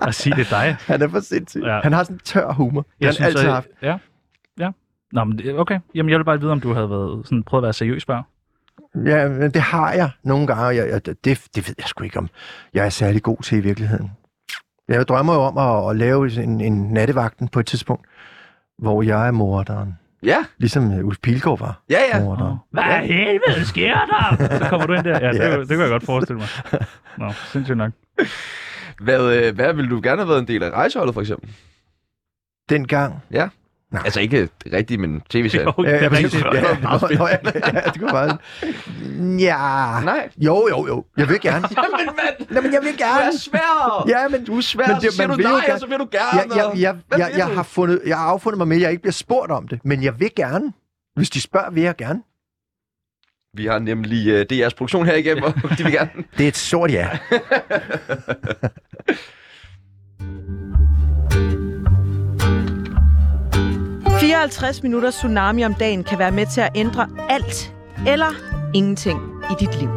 bare sig det er dig. Han er for sindssyg. Ja. Ja. Han har sådan en tør humor. Jeg han synes, altid at- har haft. Ja. ja. Nå, men det- okay. Jamen, jeg vil bare vide, om du havde været, sådan, prøvet at være seriøs før. Ja, men det har jeg nogle gange. og Jeg, jeg, det, det ved jeg sgu ikke, om jeg er særlig god til i virkeligheden. Jeg drømmer jo om at, at lave en, en nattevagten på et tidspunkt, hvor jeg er morderen. Ja, Ligesom øh, Ulf Pilgaard var ja, ja. morderen. Oh. Hvad ja. helvede sker der? Så kommer du ind der. Ja, *laughs* det, Ja. ja. det kan jeg godt forestille mig. Nå, sindssygt nok. Hvad, øh, hvad ville du gerne have været en del af rejseholdet, for eksempel? Dengang. Altså ikke rigtigt, men tv-serien. *laughs* Jo, det er præcis. rigtigt. ja, ja, nå, ja, ja, det kunne bare... Ja. Nej. Jo, jo, jo. Jeg vil gerne. Jamen, mand! Nå, men jeg vil Du gerne. er svær! Ja, men Du er svær, Men men det- det, så siger man du vil jo nej, gerne- og så vil du gerne. jeg, jeg, og- jeg, Hvad jeg, vil jeg, du? har fundet, jeg har affundet mig med, at jeg ikke bliver spurgt om det, men jeg vil gerne. Hvis de spørger, vil jeg gerne. Vi har nemlig øh, DR's produktion her igennem, og de vil gerne. Det er et stort ja. Danmark. 54 minutter tsunami om dagen kan være med til at ændre alt eller ingenting i dit liv.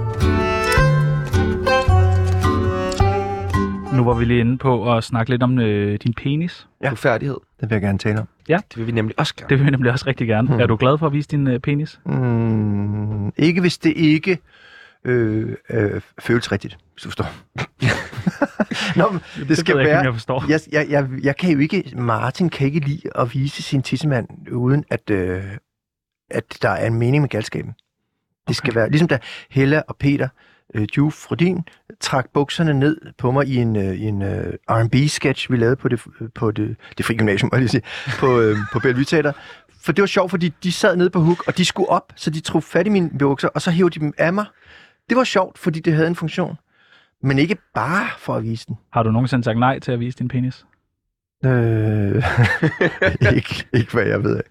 Nu var vi lige inde på at snakke lidt om øh, din penis. Ja. Færdighed. Det vil jeg gerne tale om. Det vil vi nemlig også gerne. Det vil jeg nemlig også rigtig gerne. Hmm. Er du glad for at vise din øh, penis? Mm, ikke hvis det ikke øh, øh, føles rigtigt, hvis du forstår. *laughs* Nå, men det skal ved jeg være... ikke, om jeg forstår. jeg, jeg, jeg, jeg kan jo ikke, Martin kan ikke lide at vise sin tissemand, uden at, øh, at der er en mening med galskaben. Det skal være, ligesom da Hella og Peter øh, Juf Frodin trak bukserne ned på mig i en, øh, i en øh, R&B-sketch, vi lavede på det, på det, det fri gymnasium, må jeg lige sige, på, øh, på Bellevue Teater. For det var sjovt, fordi de sad nede på hook, og de skulle op, så de tog fat i mine bukser, og så hævde de dem af mig. Det var sjovt, fordi det havde en funktion. Men ikke bare for at vise den. Har du nogensinde sagt nej til at vise din penis? Øh, *laughs* ikke, ikke hvad jeg ved af.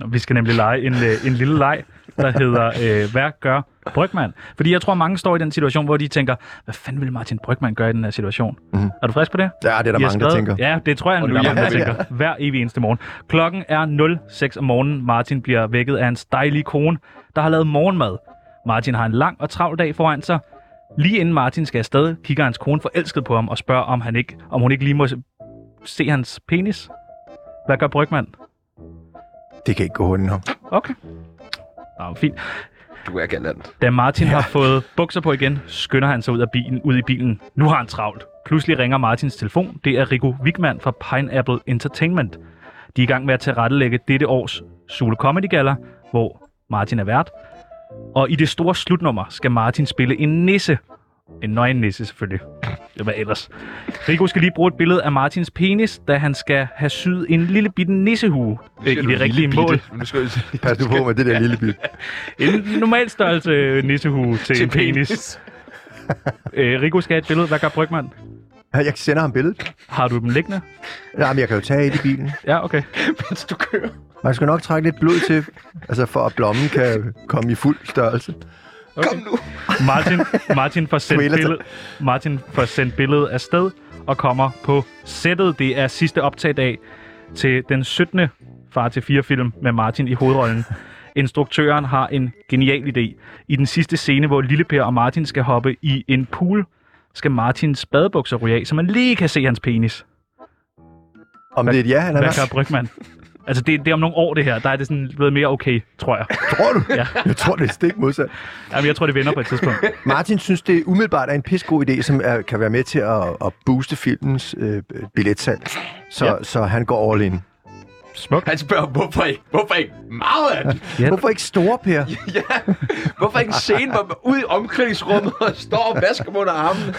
Nå, vi skal nemlig lege en, øh, en lille leg, der hedder, øh, hvad gør Brygman? Fordi jeg tror, mange står i den situation, hvor de tænker, hvad fanden vil Martin Brygman gøre i den her situation? Mhm. Mm. Er du frisk på det? Ja, det er der I har mange, der skrevet- tænker. Ja, det tror jeg, Og der nu er mange, der hjem igen. tænker. Hver evig eneste morgen. Klokken er 06 om morgenen. Martin bliver vækket af hans dejlige kone, der har lavet morgenmad. Martin har en lang og travl dag foran sig. Lige inden Martin skal afsted, kigger hans kone forelsket på ham og spørger, om, han ikke, om hun ikke lige må se- se hans penis. Hvad gør Brygman? Det kan ikke gå hunden om. Okay. Nå, fint. Du er galant. Da Martin ja. har fået bukser på igen, skynder han sig ud, af bilen, ud i bilen. Nu har han travlt. Pludselig ringer Martins telefon. Det er Rico Wigman fra Pineapple Entertainment. De er i gang med at tilrettelægge dette års Sule Comedy Gala, hvor Martin er vært. Og i det store slutnummer skal Martin spille en nisse. En nøgen nisse selvfølgelig. Det var ellers. Rico skal lige bruge et billede af Martins penis, da han skal have syet en lille bitte nissehue øh, i det rigtige mål. Nu *laughs* skal jeg Pas du på med det der lille bit. En normal størrelse øh, nissehue til, til en penis. Øh, Rico skal have et billede. Hvad gør Brygman? Jeg sender ham billedet. Har du dem liggende? Nej, men jeg kan jo tage et i bilen. Ja, okay. Mens du kører. Man skal nok trække lidt blod til, altså for at blommen kan komme i fuld størrelse. okay. Kom nu. Martin, Martin, får sendt Trailer til- billede, Martin får sendt billedet afsted og kommer på sættet. Det er sidste optagdag til den 17. Far til 4 film med Martin i hovedrollen. Instruktøren har en genial idé. I den sidste scene, hvor Lille Per og Martin skal hoppe i en pool, skal Martins badebukser ryge af, så man lige kan se hans penis. Om det er et ja eller Hvad nej, gør Brygman? Altså, det, det er om nogle år, det her. Der er det sådan blevet mere okay, tror jeg. *laughs* tror du? Ja. Jeg tror, det er stik modsat. Jamen, jeg tror, det vender på et tidspunkt. Martin synes, det umiddelbart er en pissegod idé, som er, kan være med til at, at booste filmens øh, billetsalg. Så, ja. Ja. så han går all in. Smukt. Han spørger, hvorfor ikke, hvorfor ikke meget? Ja. Hvorfor ikke store, Per? ja, hvorfor ikke en scene, hvor man ud i omklædningsrummet og står og vasker dem under armene?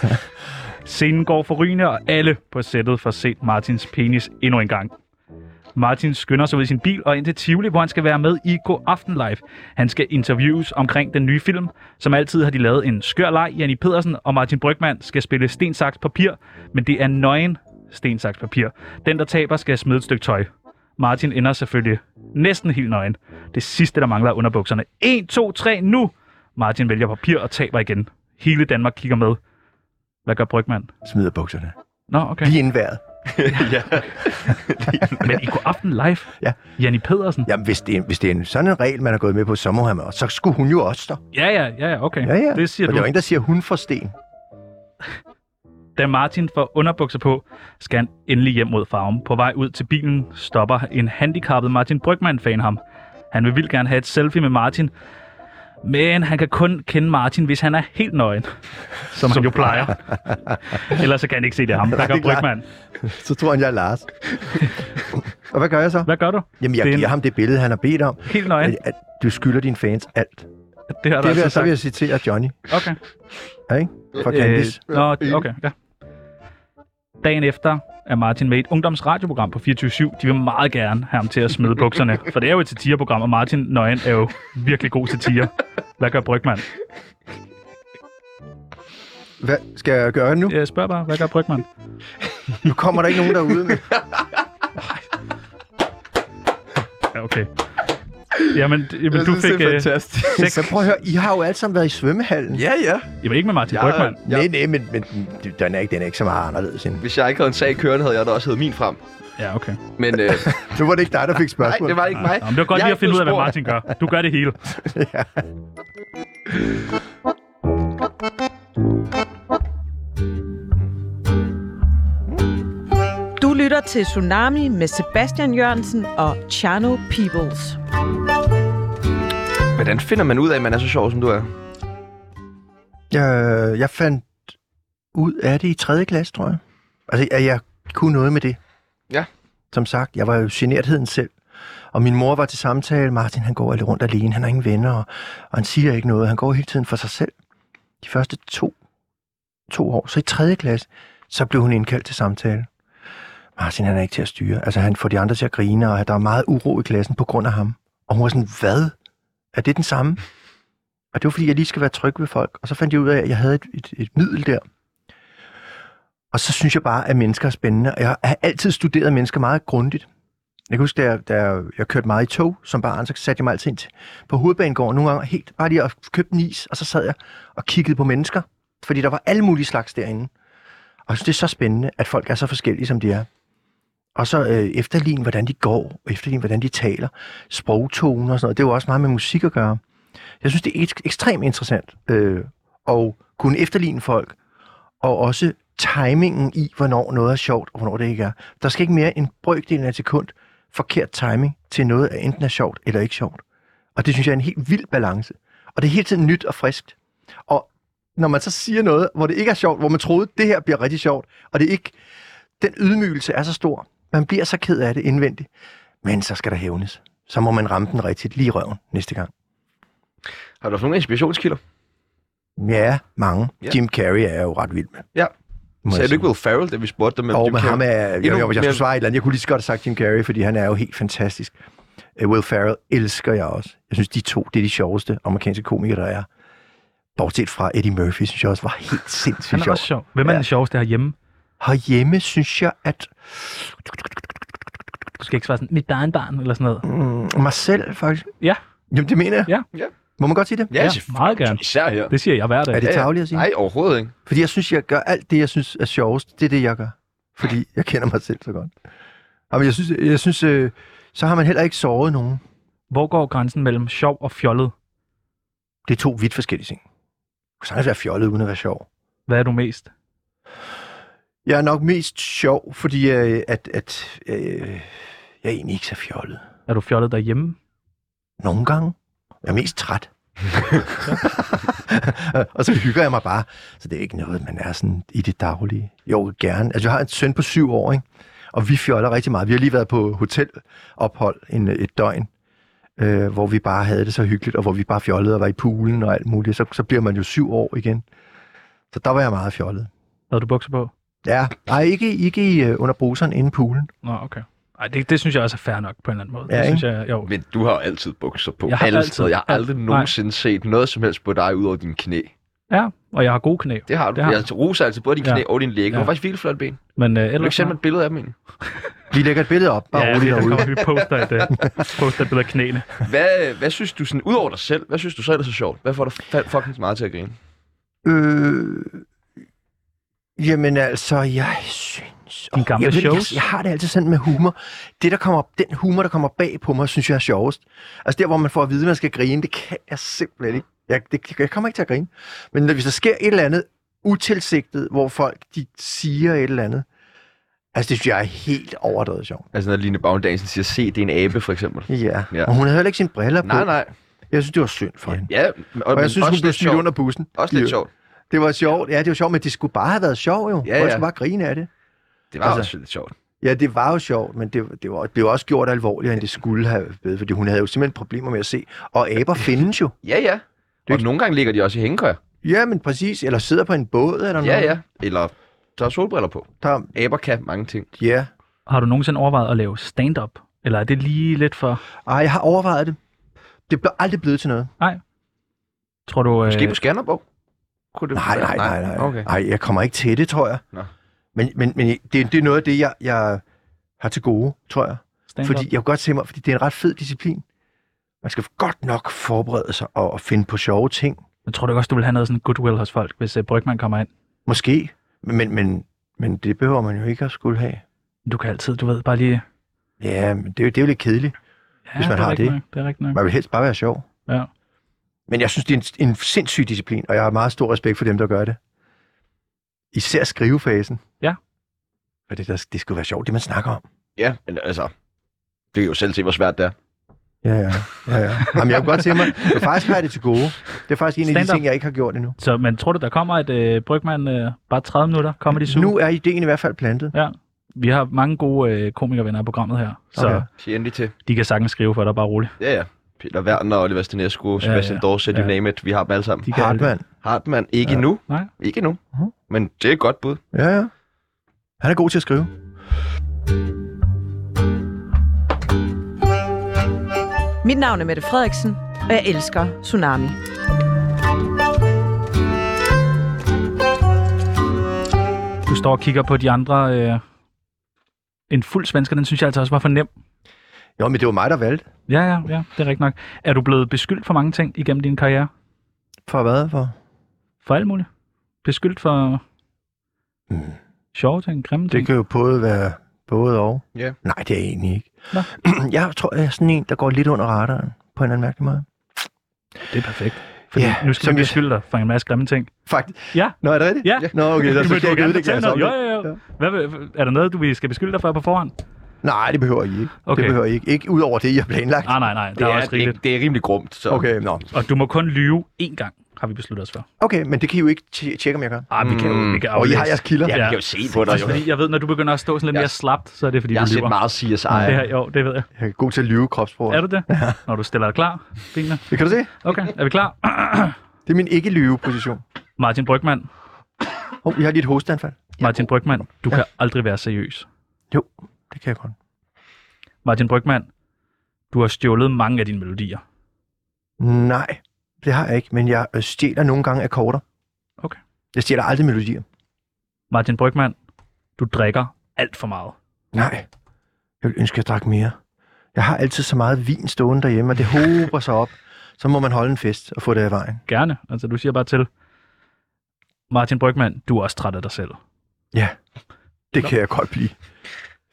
Scenen går forrygende, og alle på sættet får set Martins penis endnu en gang. Martin skynder sig ud i sin bil og ind til Tivoli, hvor han skal være med i Go Aften Live. Han skal interviews omkring den nye film. Som altid har de lavet en skør leg. Janni Pedersen og Martin Brygman skal spille sten, saks, papir, men det er nøgen sten, saks, papir. Den, der taber, skal smide et stykke tøj. Martin ender selvfølgelig næsten helt nøgen. Det sidste, der mangler er underbukserne. 1, 2, 3, nu! Martin vælger papir og taber igen. Hele Danmark kigger med. Hvad gør Brygman? Smider bukserne. Nå, okay. Lige indværet. ja. Men i går aften live, Ja. Janni Pedersen. Jamen, hvis det, er, hvis det er en sådan en regel, man har gået med på, så må han også. Så skulle hun jo også der. Ja, ja, ja, ja okay. Ja, ja. Det siger og du. der er jo ingen, der siger, hun får sten. Da Martin får underbukser på, skal han endelig hjem mod farven. På vej ud til bilen stopper en handicappet Martin Brygman fan ham. Han vil vildt gerne have et selfie med Martin, Men han kan kun kende Martin, hvis han er helt nøgen. *laughs* Som, som han jo *laughs* plejer. Ellers så kan han ikke se det er ham. Der det er går klart. Brygman. *laughs* Så tror han, jeg er Lars. og hvad gør jeg så? Hvad gør du? Jamen, jeg Det er en- giver ham det billede, han har bedt om. Helt nøgen. At, at du skylder dine fans alt. Det Det har du vil altså jeg, så vil sagt. jeg citere Johnny Okay. ja, ikke? fra Candice. Øh, nå, okay, ja. Dagen efter er Martin med i et ungdomsradioprogram på 24-7. De vil meget gerne have ham til at smide bukserne, for det er jo et satireprogram, og Martin Nøgen er jo virkelig god satire. Hvad gør Brygman? Hvad skal jeg gøre nu? Jeg spørger bare, hvad gør Brygman? Nu kommer der ikke nogen derude. Med. Ja, okay. Jamen, d- jamen du fik... det er Øh, fantastisk. Så prøv at høre, I har jo alle sammen været i svømmehallen. ja, ja. jamen, ikke med Martin Jeg- Brygman. Ja. Nej, nej, men, men den- den, er ikke, den er ikke så meget anderledes end... Hvis jeg ikke havde en sag kørende, havde jeg da også hævet min frem. Ja, okay. Men *laughs* øh, Nu var det ikke dig, der fik nej, spørgsmål. det var ikke mig. Nå, men det var godt Jeg lige er at finde ud af, hvad blevet Martin gør. Du gør det hele. Du lytter til Tsunami med Sebastian Jørgensen og Chano Peoples. Hvordan finder man ud af, at man er så sjov, som du er? Jeg, jeg fandt ud af det i 3. klasse, tror jeg. Altså, at jeg kunne noget med det. Ja. Som sagt, jeg var jo genertheden selv. Og min mor var til samtale. Martin, han går lidt rundt alene. Han har ingen venner, og, og han siger ikke noget. Han går hele tiden for sig selv. De første to, to år. Så i 3. klasse, så blev hun indkaldt til samtale. Martin, han er ikke til at styre. Altså, han får de andre til at grine, og der er meget uro i klassen på grund af ham. Og hun var sådan, hvad? Er det den samme? Og det var, fordi jeg lige skal være tryg ved folk. Og så fandt jeg ud af, at jeg havde et, et, et middel der. Og så synes jeg bare, at mennesker er spændende. Og jeg har altid studeret mennesker meget grundigt. Jeg kan huske, da jeg, da jeg, jeg kørte meget i tog som barn, så satte jeg mig altid ind til- på hovedbanegården nogle gange helt bare lige og købte en is, og så sad jeg og kiggede på mennesker, fordi der var alle mulige slags derinde. Og jeg synes, det er så spændende, at folk er så forskellige, som de er. Og så øh, efterligne, hvordan de går, og efterligne, hvordan de taler, sprogtoner og sådan noget. Det er jo også meget med musik at gøre. Jeg synes, det er ek- ekstremt interessant øh, at kunne efterligne folk, og også timingen i, hvornår noget er sjovt, og hvornår det ikke er. Der skal ikke mere end brøkdelen af et sekund forkert timing til noget, der enten er sjovt eller ikke sjovt. Og det synes jeg er en helt vild balance. Og det er hele tiden nyt og friskt. Og når man så siger noget, hvor det ikke er sjovt, hvor man troede, det her bliver rigtig sjovt, og det ikke, den ydmygelse er så stor, man bliver så ked af det indvendigt, men så skal der hævnes. Så må man ramme den rigtigt lige i røven næste gang. Har du haft nogle inspirationskilder? Ja, mange. Ja. Jim Carrey er jeg jo ret vild med. Ja. Må Sagde du jeg sige. ikke Will Ferrell, da vi spurgte dig? men Og Jim med Carrey? ham er... Jeg, jeg, jeg, jeg mere- skulle svare et eller andet. Jeg kunne lige så godt have sagt Jim Carrey, fordi han er jo helt fantastisk. Øh, Will Ferrell elsker jeg også. Jeg synes, de to, det er de sjoveste amerikanske komikere, der er. Bortset fra Eddie Murphy, synes jeg også var *laughs* helt Han sindssygt er sjov. også sjov. Hvem er Ja. den sjoveste herhjemme? Herhjemme synes jeg, at Du skal ikke svare sådan, mit barnbarn eller sådan noget. mm, mig selv faktisk... Ja. Jamen, det mener jeg. Ja. Ja. Må man godt sige det? Ja, Ja, selvfølgelig. meget gerne. Især her. Det siger jeg hver dag. Er det Ja, ja. tageligt at sige? Nej, overhovedet ikke. Ah, Fordi jeg synes, jeg gør alt det, jeg synes er sjovest. Det er det, jeg gør. Fordi jeg kender mig selv så godt. Jamen, jeg synes, jeg synes øh, så har man heller ikke såret nogen. Hvor går grænsen mellem sjov og fjollet? Det er to vidt forskellige ting. Du kan sagtens være fjollet, uden at være sjov. Hvad er du mest? Jeg er nok mest sjov, fordi øh, at, at øh, jeg er egentlig ikke så fjollet. Er du fjollet derhjemme? Nogle gange. Jeg er mest træt. og så hygger jeg mig bare. Så det er ikke noget, man er sådan i det daglige. Jo, gerne. Altså, jeg har en søn på syv år, ikke? og vi fjoller rigtig meget. Vi har lige været på hotelophold en, et døgn, øh, hvor vi bare havde det så hyggeligt, og hvor vi bare fjollede og var i poolen og alt muligt. Så, så bliver man jo syv år igen. Så der var jeg meget fjollet. Havde du bukser på? Ja, nej, ikke, ikke i, øh, under bruseren inde i poolen. Nå, okay. Ej, det, det synes jeg også er fair nok på en eller anden måde. Ja, det ikke? synes jeg, jo. Men du har jo altid bukser på. Jeg har alle altid- steder. Jeg har alt- aldrig nej. nogensinde set noget som helst på dig, udover dine knæ. Ja, og jeg har gode knæ. Det har du. Det har jeg Altså, roser altid både dine knæ Ja. og dine læge. Du Ja. har faktisk virkelig flot ben. Men øh, Kan du ellers... ikke sende mig et billede af dem egentlig? Vi lægger et billede op, bare ja, ja, *laughs* roligt det, der derude. kommer vi poster et, øh, poster et billede af knæene. Hvad, hvad synes du sådan, udover dig selv, hvad synes du så er det så sjovt? Hvad får dig fa- fucking så meget til at grine? Øh, jamen altså, jeg synes... Dine Åh, gamle jeg, ved det, shows? Jeg, jeg har det altid sådan med humor. Det, der kommer, den humor, der kommer bag på mig, synes jeg er sjovest. Altså der, hvor man får at vide, at man skal grine, det kan jeg simpelthen ikke. Jeg, det, jeg kommer ikke til at grine. Men når- hvis der sker et eller andet utilsigtet, hvor folk de siger et eller andet, altså det synes jeg er helt overdrevet sjovt. Altså når Line Bagendansen siger, se, det er en abe, for eksempel. Ja, Ja. ja. og hun havde heller ikke sine briller på. Nej, nej. Jeg synes, det var synd for hende. Ja, og, Og jeg synes, hun også blev lidt smidt sjovt. under bussen. Også lidt Ja. sjovt. Det var sjovt. Ja, det var sjovt, men det skulle bare have været sjovt jo. Ja, Folk ja. skulle bare grine af det. Det var Altså- også lidt sjovt. Ja, det var jo sjovt, men det, det, var, det blev også gjort alvorligere, end det skulle have været, fordi hun havde jo simpelthen problemer med at se. Og aber findes jo. Ja, ja. Og nogle gange ligger de også i hængekøjer. Ja, men præcis. Eller sidder på en båd eller noget. Ja, ja. Eller tager solbriller på. Der, Aber kan mange ting. ja. Har du nogensinde overvejet at lave stand-up? Eller er det lige lidt for... Ej, jeg har overvejet det. Det blev aldrig blevet til noget. Tror du... Øh... Måske på Skanderborg? Kunne det Nej, nej, nej, nej. Okay. Ej, jeg kommer ikke til det, tror jeg. Nå. Men, men, men det, det er noget af det, jeg, jeg har til gode, tror jeg. stand-up? Fordi jeg kunne godt se mig, fordi det er en ret fed disciplin. Man skal godt nok forberede sig og, og finde på sjove ting. Jeg tror du også, du vil have noget sådan goodwill hos folk, hvis øh, Brygman kommer ind. Måske, men, men, men det behøver man jo ikke at skulle have. Du kan altid, du ved, bare lige... Ja, men det, er jo- det er jo lidt kedeligt. Ja, Hvis man det er har rigtigt det. Nok, det er rigtigt nok. Man vil helst bare være sjov. Ja. Men jeg synes, det er en, en sindssyg disciplin, og jeg har meget stor respekt for dem, der gør det. Især skrivefasen. Ja. For det, der, det skulle være sjovt, det man snakker om. Ja, men altså... Det kan jo selv se, hvor svært det er. Ja, ja. ja, ja. Jamen, jeg kunne godt se mig. Jeg faktisk har jeg det til gode. Det er faktisk en af de Stand-up. ting, jeg ikke har gjort endnu. Så, men tror du, der kommer et øh, Brygman øh, bare 30 minutter? Kommer de Nu er ideen i hvert fald plantet. Ja. Vi har mange gode øh, komikervenner i programmet her, så Okay. okay. Sig endelig til. de kan sagtens skrive for dig, bare roligt. Ja, ja. Peter Werner, Oliver Stenesco, Sebastian ja. ja, ja. Dorset, you Ja. name it. Vi har dem alle sammen. De kan alt det. Hartmann. Hartmann, ikke Ja. ja. nu. Nej. Ikke nu. Mhm. Men det er et godt bud. Ja, ja. Han er god til at skrive. Mit navn er Mette Frederiksen, og jeg elsker Tsunami. Du står og kigger på de andre. Øh, en fuld svensker, den synes jeg altså også var for nem. Jo, men det var mig, der valgte. Ja, ja, ja, det er rigtigt nok. Er du blevet beskyldt for mange ting igennem din karriere? For hvad? For? For alt muligt? Beskyldt for Mm. sjove ting, grimme ting? Det kan jo både være både og. Ja. Nej, det er jeg egentlig ikke. Nå. *clears throat* Jeg tror, jeg er sådan en, der går lidt under radaren på en eller anden mærkelig måde. Det er perfekt. Fordi Ja, nu skal som vi jeg- beskylde dig for en masse grimme ting. Faktisk. Ja. Nå, er det rigtigt? Ja. Nå, *laughs* okay. Men Så skal du jeg må ikke ødelægge gerne fortælle jeres noget. Jo, øjeblik. jo, jo. Ja. Hvad, vil- er der noget, du vi skal beskylde dig for på forhånd? Nej, det behøver I ikke. Okay. Det behøver I ikke. Ikke ud over det, I har planlagt. Ah, nej, nej, det er, er også rigeligt. det, det er rimelig grumt. Så. Ah, Okay, nå. Og du må kun lyve én gang, har vi besluttet os for. Okay, men det kan I jo ikke tje- tjekke, om jeg gør. Ah, vi kan jo Mm. vi kan Og I har aflæse. jeres kilder. Ja, Ja. ja. kan jo se på dig. Også Jo. fordi, jeg ved, når du begynder at stå sådan lidt Jeg- mere slapt, så er det fordi, Jeg du har set lyver. meget CSI. Det Ja. her, jo, det ved jeg. Jeg er god til at lyve kropsprog. Er du det? Når du stiller dig klar, Dina. Det kan du se. Okay, er vi klar? Det er min ikke-lyve-position. Martin Brygman, Hov, jeg har lige et hostanfald. Martin Brygman, du kan aldrig være seriøs. Jo, det kan jeg godt. Martin Brygman, du har stjålet mange af dine melodier. Nej, det har jeg ikke, men jeg øh, stjæler nogle gange akkorder. Okay. Jeg stjæler aldrig melodier. Martin Brygman, du drikker alt for meget. Nej, jeg vil ønske, at jeg drak mere. Jeg har altid så meget vin stående derhjemme, og det hober sig op. Så må man holde en fest og få det af vejen. Gerne, altså du siger bare til. Martin Brygman, du er også træt af dig selv. Ja, det kan jeg godt blive.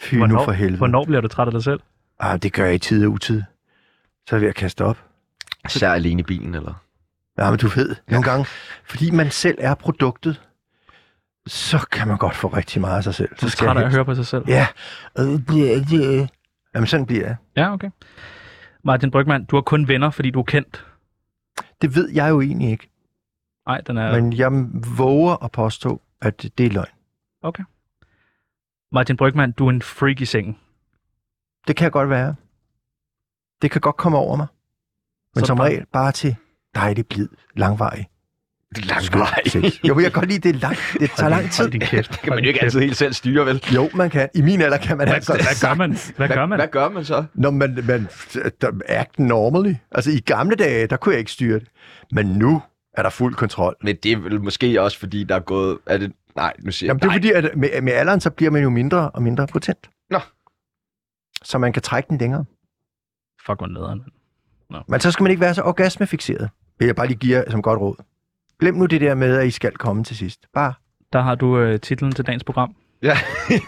Fy nu for helvede. hvornår bliver du træt af dig selv? Ah, det gør jeg i tid og utid. Så er jeg ved at kaste op. Især alene i bilen, eller? Ja, men du ved, nogle gange, fordi man selv er produktet, så kan man godt få rigtig meget af sig selv. Du Så er træt af at helst- høre på sig selv. Ja. Øh, det- det- Jamen, sådan bliver jeg. Ja, okay. Martin Brygman, du har kun venner, fordi du er kendt. Det ved jeg jo egentlig ikke, Nej, den er... ja. men jeg våger at påstå, at det er løgn. Martin Brygman, du er en freak i sengen. Det kan jeg godt være. Det kan godt komme over mig. Men så Så som bare- regel bare til dejlig, blid, langvarig. Langvej. sex. Jo, men jeg kan godt lide, det, er lang, det tager lang tid. Hold din kæft. Det kan man jo ikke altid helt selv styre, vel? Jo, man kan. I min alder kan man altså. Hvad gør man? Hvad gør man? Hvad gør man så? Nå, men, men der- act normally. Altså, i gamle dage, der kunne jeg ikke styre det. Men nu er der fuld kontrol. Men det er vel måske også, fordi der er gået... Er det... Nej, nu siger jeg... Jamen, det er Nej, fordi, at med, med alderen, så bliver man jo mindre og mindre potent. Nå. Så man kan trække den længere. Fuck, hvor nederen. mand. Men så skal man ikke være så orgasmefixeret. Vil jeg bare lige give jer som godt råd. Glem nu det der med, at I skal komme til sidst. Bare. Der har du øh, titlen til dagens program. Ja. *laughs*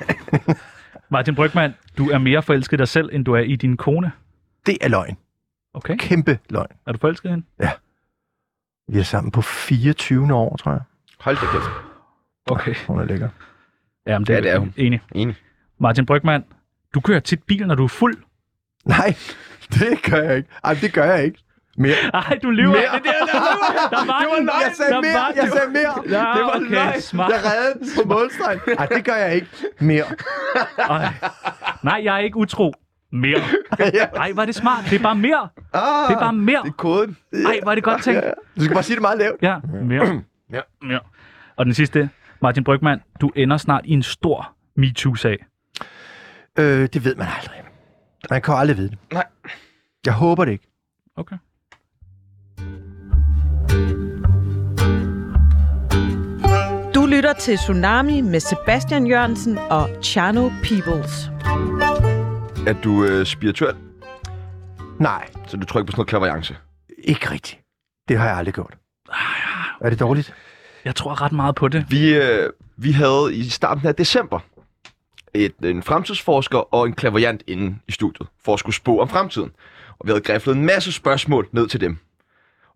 Martin Brygman, du er mere forelsket i dig selv, end du er i din kone. Det er løgn. Okay, Kæmpe løgn. er du forelsket i hende? Vi er sammen på 24. år, tror jeg. Hold da kæft. Okay. Hun er lækker. Jamen, Ja, det er hun. Enig. Enig. Martin Brygman, du kører tit bil, når du er fuld. Nej, det gør jeg ikke. Ej, det gør jeg ikke. Mere. Ej, du lyver. Mere. Det der, der, der var Det var den. løgn. Jeg sagde Der mere. var Jeg den. sagde mere. Ja, Det var Ah, okay, løgn. smart. Jeg reddede den på målstregen. Nej, det gør jeg ikke. Mere. Ej. Nej, jeg er ikke utro. *laughs* Mere. Nej, var det smart. Det er bare mere. Ah, Det er bare mere. Det er koden. Nej, var det godt tænkt. Du skal bare sige det meget lavt. Ja, mere. *clears throat* Ja. mere. Og den sidste, Martin Brygman, du ender snart i en stor MeToo-sag. Øh, det ved man aldrig. Man kan jo aldrig vide det. Nej. Jeg håber det ikke. Okay. Du lytter til Tsunami med Sebastian Jørgensen og Chano Peoples. Er du øh, spirituel, Nej, så du tror ikke på sådan noget klaverjance? ikke rigtigt. Det har jeg aldrig gjort. Ah, Er det dårligt? Jeg tror ret meget på det. Vi, øh, vi havde i starten af december et, en fremtidsforsker og en klaverjant inde i studiet, for at skulle spå om fremtiden. Og vi havde græflet en masse spørgsmål ned til dem.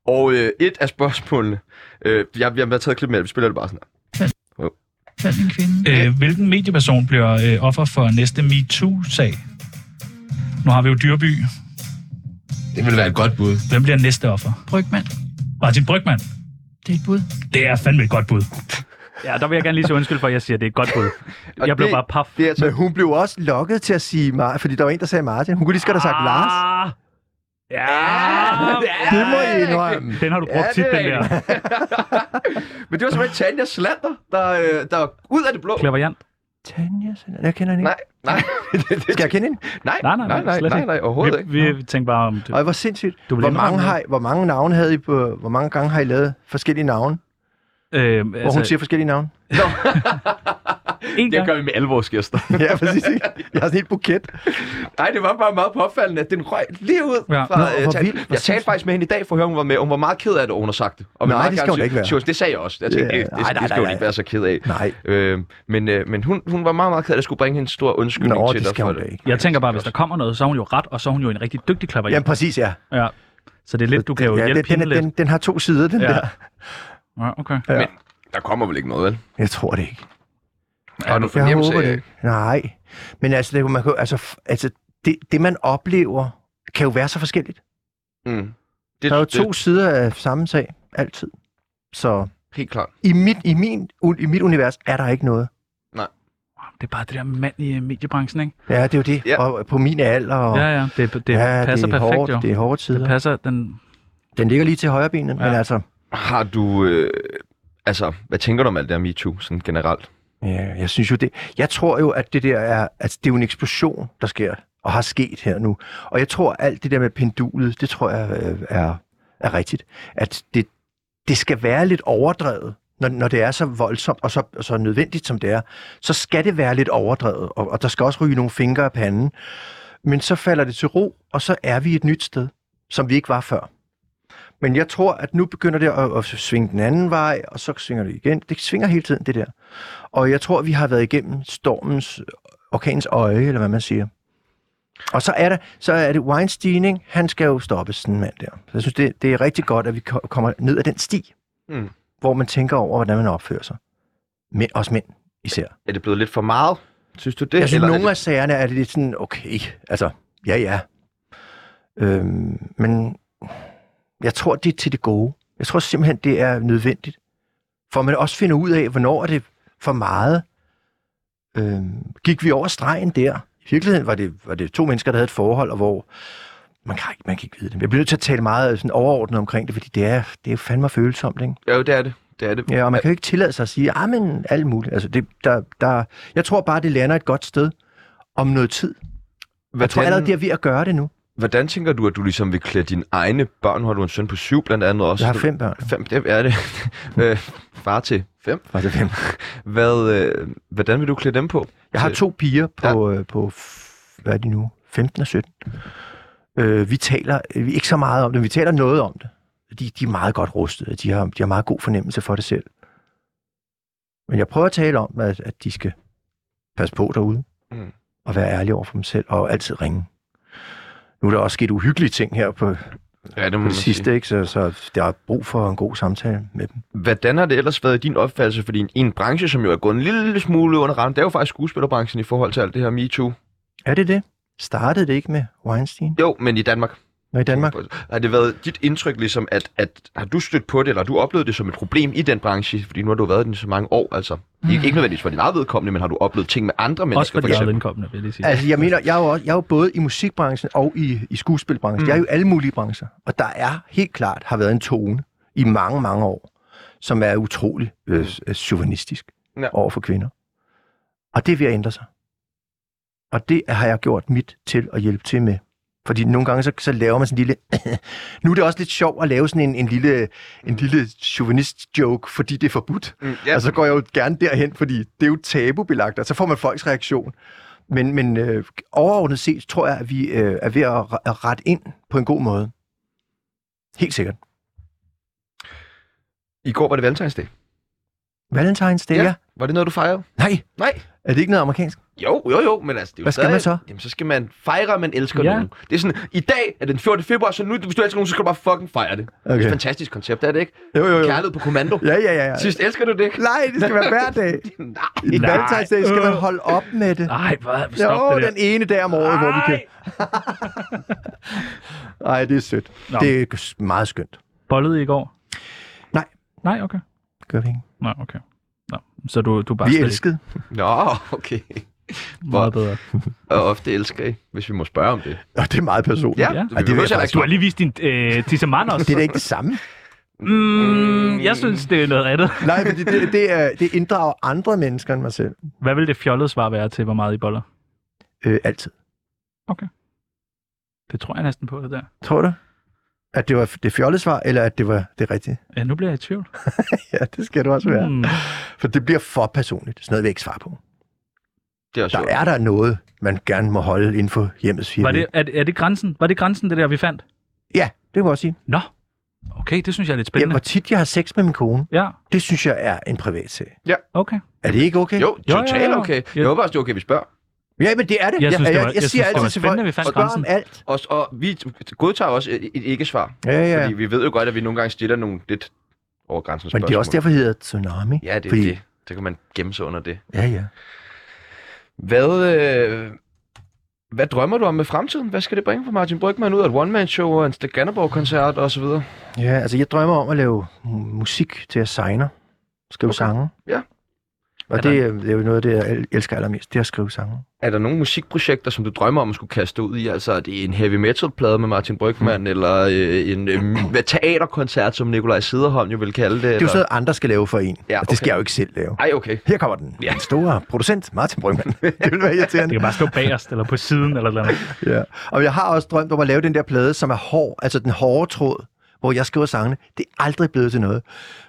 Og øh, et af spørgsmålene, øh, jeg, jeg har taget et klip med, vi spiller det bare sådan her. fandt en kvinde. Øh, hvilken medieperson bliver øh, offer for næste MeToo-sag? Nu har vi jo Dyrby. Det ville være et godt bud. Hvem bliver næste offer? Brygmand, Martin Brygman. det er et bud. Det er fandme et godt bud. Ja, der vil jeg gerne lige sige undskyld for, at jeg siger, at det er et godt bud. Jeg blev det- bare paf. Det er altså Men hun blev også lokket til at sige Mar- fordi der var en, der sagde Martin. Hun kunne lige så godt have sagt Lars. Ah! Ja, Det må I indrømme. den har du brugt Ja, tit, det er den der. Men det var simpelthen Tanja Slander, der, øh, der ud af det blå. Klaverjant. Tanja, Sand- jeg kender hende ikke. Nej, nej. det, det, *laughs* Skal jeg kende hende? nej, Nej, nej, nej, nej, slet nej, ikke. nej, overhovedet ikke. Vi, vi tænkte bare om det. Og hvor sindssygt. Du vil Hvor mange, indrømme har I, hvor mange navne havde I på, hvor mange gange har I lavet forskellige navne? Altså, Øh, hvor hun siger forskellige navne? *laughs* en Det gang. gør vi med alle vores gæster. ja, præcis. ikke? Jeg har sådan et buket. Nej, det var bare meget påfaldende, at den røg lige ud Ja. ja. Nå, fra... hvor Nå, vildt. Hvor jeg talte sindssygt. faktisk med hende i dag, for at høre, hun var med. Hun var meget ked af det, og hun har sagt det. Og vil Nej, meget det skal gerne hun da sige- ikke være. sige os- Det sagde jeg også. Jeg tænkte, Ja. det, det, Nej, nej, det skal hun nej, ikke nej. være så ked af. Nej. Øh, men øh, men hun, hun var meget, meget ked af, at jeg skulle bringe hende en stor undskyldning Nå, til det dig. skal for hun da ikke. Jeg tænker bare, hvis der kommer noget, så er hun jo ret, og så er hun jo en rigtig dygtig Jamen klaverjant. præcis, ja. Ja. Så det er lidt, du kan jo ja, hjælpe den, den, hende er- lidt. den, den, har to sider, den Ja. der. Ja, okay. Ja. Der kommer vel ikke noget, vel? Jeg tror det ikke. Har du Jeg fornemmelse håber det af... ikke. Nej. Men altså, det, kunne man, kunne- altså, f- altså det, det, man oplever, kan jo være så forskelligt. Mm. Der er jo to sider af samme sag, altid. Så Helt klart. i mit, i, min, u- i mit univers er der ikke noget. Det er bare det der mand i øh, mediebranchen, ikke? Ja, det er jo det. Ja. Og på min alder. Og, Ja, ja. Det, det ja, passer det er perfekt, hårdt, jo. Det er hårde Det tider. passer den... Den ligger lige til højre benet, ja. men Ja. altså, Har du... Øh, altså, hvad tænker du om alt det her MeToo, sådan generelt? ja, jeg synes jo det. Jeg tror jo, at det der er, altså, det er jo en eksplosion, der sker og har sket her nu. Og jeg tror, alt det der med pendulet, det tror jeg øh, er, er rigtigt. At det, det skal være lidt overdrevet, når, når det er så voldsomt og så, og så nødvendigt, som det er. Så skal det være lidt overdrevet, og, og der skal også ryge nogle fingre af panden. Men så falder det til ro, og så er vi et nyt sted, som vi ikke var før. Men jeg tror, at nu begynder det at, at svinge den anden vej, og så svinger det igen. Det svinger hele tiden, det der. Og jeg tror, vi har været igennem stormens, orkanens øje, eller hvad man siger. Og så er, der, så er det Weinstein, ikke? han skal jo stoppes, sådan en mand der. Så jeg synes, det, det er rigtig godt, at vi ko- kommer ned ad den sti, Mm. hvor man tænker over, hvordan man opfører sig. Mænd, også mænd især. Er det blevet lidt for meget? Synes du det? Jeg synes, Eller er nogle det... af sagerne er det lidt sådan, okay, altså, ja, ja. Øhm, men jeg tror, det er til det gode. Jeg tror simpelthen, det er nødvendigt. For man også finder ud af, hvornår er det for meget. Øhm, gik vi over stregen der? I virkeligheden var det, var det to mennesker, der havde et forhold, og hvor man kan, ikke, man kan ikke vide det. Jeg bliver nødt til at tale meget sådan overordnet omkring det, fordi det er, det er fandme følsomt, ikke? Ja, jo, det er det. Det er det. Ja, og man kan jo ikke tillade sig at sige, ah, men alt muligt. Altså, det, der, der, jeg tror bare, det lander et godt sted om noget tid. Hvad jeg tror allerede, de er ved at gøre det nu. Hvordan tænker du, at du ligesom vil klæde dine egne børn? Nu har du en søn på syv blandt andet også. Jeg har fem børn. Fem, det er det. *laughs* øh, far til fem. Var det fem? Hvad, øh, hvordan vil du klæde dem på? Jeg har Til- to piger på, Øh, ja. på f- hvad er de nu? 15 og 17. Øh, vi taler øh, vi- ikke så meget om det, men vi taler noget om det. De, de er meget godt rustede, og de har, de har meget god fornemmelse for det selv. Men jeg prøver at tale om, at, at de skal passe på derude, Mm. mm. og være ærlige over for dem selv, og altid ringe. Nu er der også sket uhyggelige ting her på, Ja, det må på man det sidste, ikke? Så, så der er brug for en god samtale med dem. sige. Hvordan har det ellers været i din opfattelse? Fordi en, en branche, som jo er gået en lille smule under rammen, det er jo faktisk skuespillerbranchen i forhold til alt det her MeToo. Er det det? Startede det ikke med Weinstein? Jo, men i Danmark. Nå, i Danmark? Har det været dit indtryk, ligesom, at, at har du stødt på det, eller har du oplevet det som et problem i den branche? Fordi nu har du været i den i så mange år, altså. Mm. Ikke, ikke nødvendigvis for din eget vedkommende, men har du oplevet ting med andre mennesker, Også for de eksempel? eget indkommende, vil jeg lige sige. Altså, jeg mener, jeg er jo, også, jeg er jo både i musikbranchen og i, i skuespilbranchen. Mm. Jeg er jo i alle mulige brancher. Og der er helt klart har været en tone i mange, mange år, som er utrolig øh, øh, chauvinistisk Ja. ja. over for kvinder. Og det er ved at ændre sig. Og det har jeg gjort mit til at hjælpe til med. Fordi nogle gange, så, så laver man sådan en lille... *coughs* nu er det også lidt sjovt at lave sådan en, en lille, en lille chauvinist-joke, fordi det er forbudt. Mm, Hmm, Ja. ja. Og så går jeg jo gerne derhen, fordi det er jo tabubelagt, og så får man folks reaktion. Men, men øh, overordnet set tror jeg, at vi øh, er ved at re- at rette ind på en god måde. Helt sikkert. I går var det Valentinsdag. Valentine's Day, ja. ja. Var det noget, du fejrede? Nej, Nej. er det ikke noget amerikansk? Jo, jo, jo, men altså, det er jo Hvad skal stadig, man så? Jamen, så skal man fejre, at man elsker Ja. ja. nogen. Det er sådan, i dag er den 14. februar, så nu, hvis du elsker nogen, så skal du bare fucking fejre det. Okay. Det er et fantastisk koncept, er det ikke? Jo, jo, jo. Kærlighed på kommando. Ja, ja, ja. ja. Sidst elsker du det ikke? Nej, det skal være hver dag. Nej. I *laughs* Nej. Øh. Valentine's Day skal man holde op med det. Nej, hvad? Stop Jo, det der. den ene dag om året, hvor vi *laughs* kan... Nej, det er sødt. Nå. Det er meget skønt. Bollede I i går? Nej. Nej, okay. Gør vi ikke? Nej, okay. Nå, så du, du er bare Vi slet elskede. Nå, okay. ikke meget bedre. Og ofte elsker I, hvis vi må spørge om det. Og det er meget personligt. Ja, Ja. ja. Ej, det det vil jeg vil jeg faktisk ikke. Du har lige vist din øh, tissemand også. Det er da ikke det samme. Mm, jeg synes, det er noget andet. Nej, fordi det, det, er, det inddrager andre mennesker end mig selv. Hvad vil det fjollede svar være til, hvor meget I boller? Øh, altid. Det tror jeg næsten på, det der. Tror du? At det var det fjollede svar, eller at det var det rigtige? Ja, nu bliver jeg i tvivl. Ja, det skal du også være. Mm. Mm. For det bliver for personligt. Sådan noget vil jeg ikke svare på. Det er også Der sjovt. er der noget, man gerne må holde inden for hjemmets fire Var det, vægge. er, det- er det grænsen? Var det grænsen, det der, vi fandt? Ja, det må jeg også sige. Nå, okay, det synes jeg er lidt Ja, spændende. hvor tit jeg har sex med min kone, Ja, det synes jeg er en privat sag. okay. Er det ikke okay? Jo, jo, totalt jo. okay. Ja. Jeg håber også, det er okay, vi spørger. Ja, men det er det. Jeg synes, jeg, det jeg, var- jeg, jeg siger synes, det altid var til spændende, folk, vi fandt og spørger om grænsen. alt. Og, og vi t- godtager også et, et ikke-svar. Ja, ja, Fordi ja. vi ved jo godt, at vi nogle gange stiller nogle lidt over grænsen Men spørgsmål. det er også derfor, det hedder tsunami. Ja, det er fordi, det. Så kan man gemme sig under det. Ja, ja. Hvad, øh, hvad drømmer du om med fremtiden? Hvad skal det bringe for Martin Brygman ud af et one-man-show og en Steganaborg-koncert osv.? Ja, altså jeg drømmer om at lave mu- musik til at signe. Skrive Okay. okay. sange. Ja. Og det, er- det er jo noget af det, jeg el- elsker allermest, det er at skrive sange. Er der nogle musikprojekter, som du drømmer om at skulle kaste ud i? Altså, er det en heavy metal-plade med Martin Brygman, eller øh, en *clears throat* øh, hvad, teaterkoncert, som Nikolaj Siderholm jo vil kalde det? Det er jo sådan noget, andre skal lave for en, Ja, ja, og det okay. skal jeg jo ikke selv lave. Ej, okay. Her kommer den, Ja. ja. den store producent, Martin Brygman. det vil være Det irriterende. kan bare stå bagerst eller på siden eller noget. Ja. Og jeg har også drømt om at lave den der plade, som er hård, altså den hårde tråd, hvor jeg skriver sangene. Det er aldrig blevet til noget.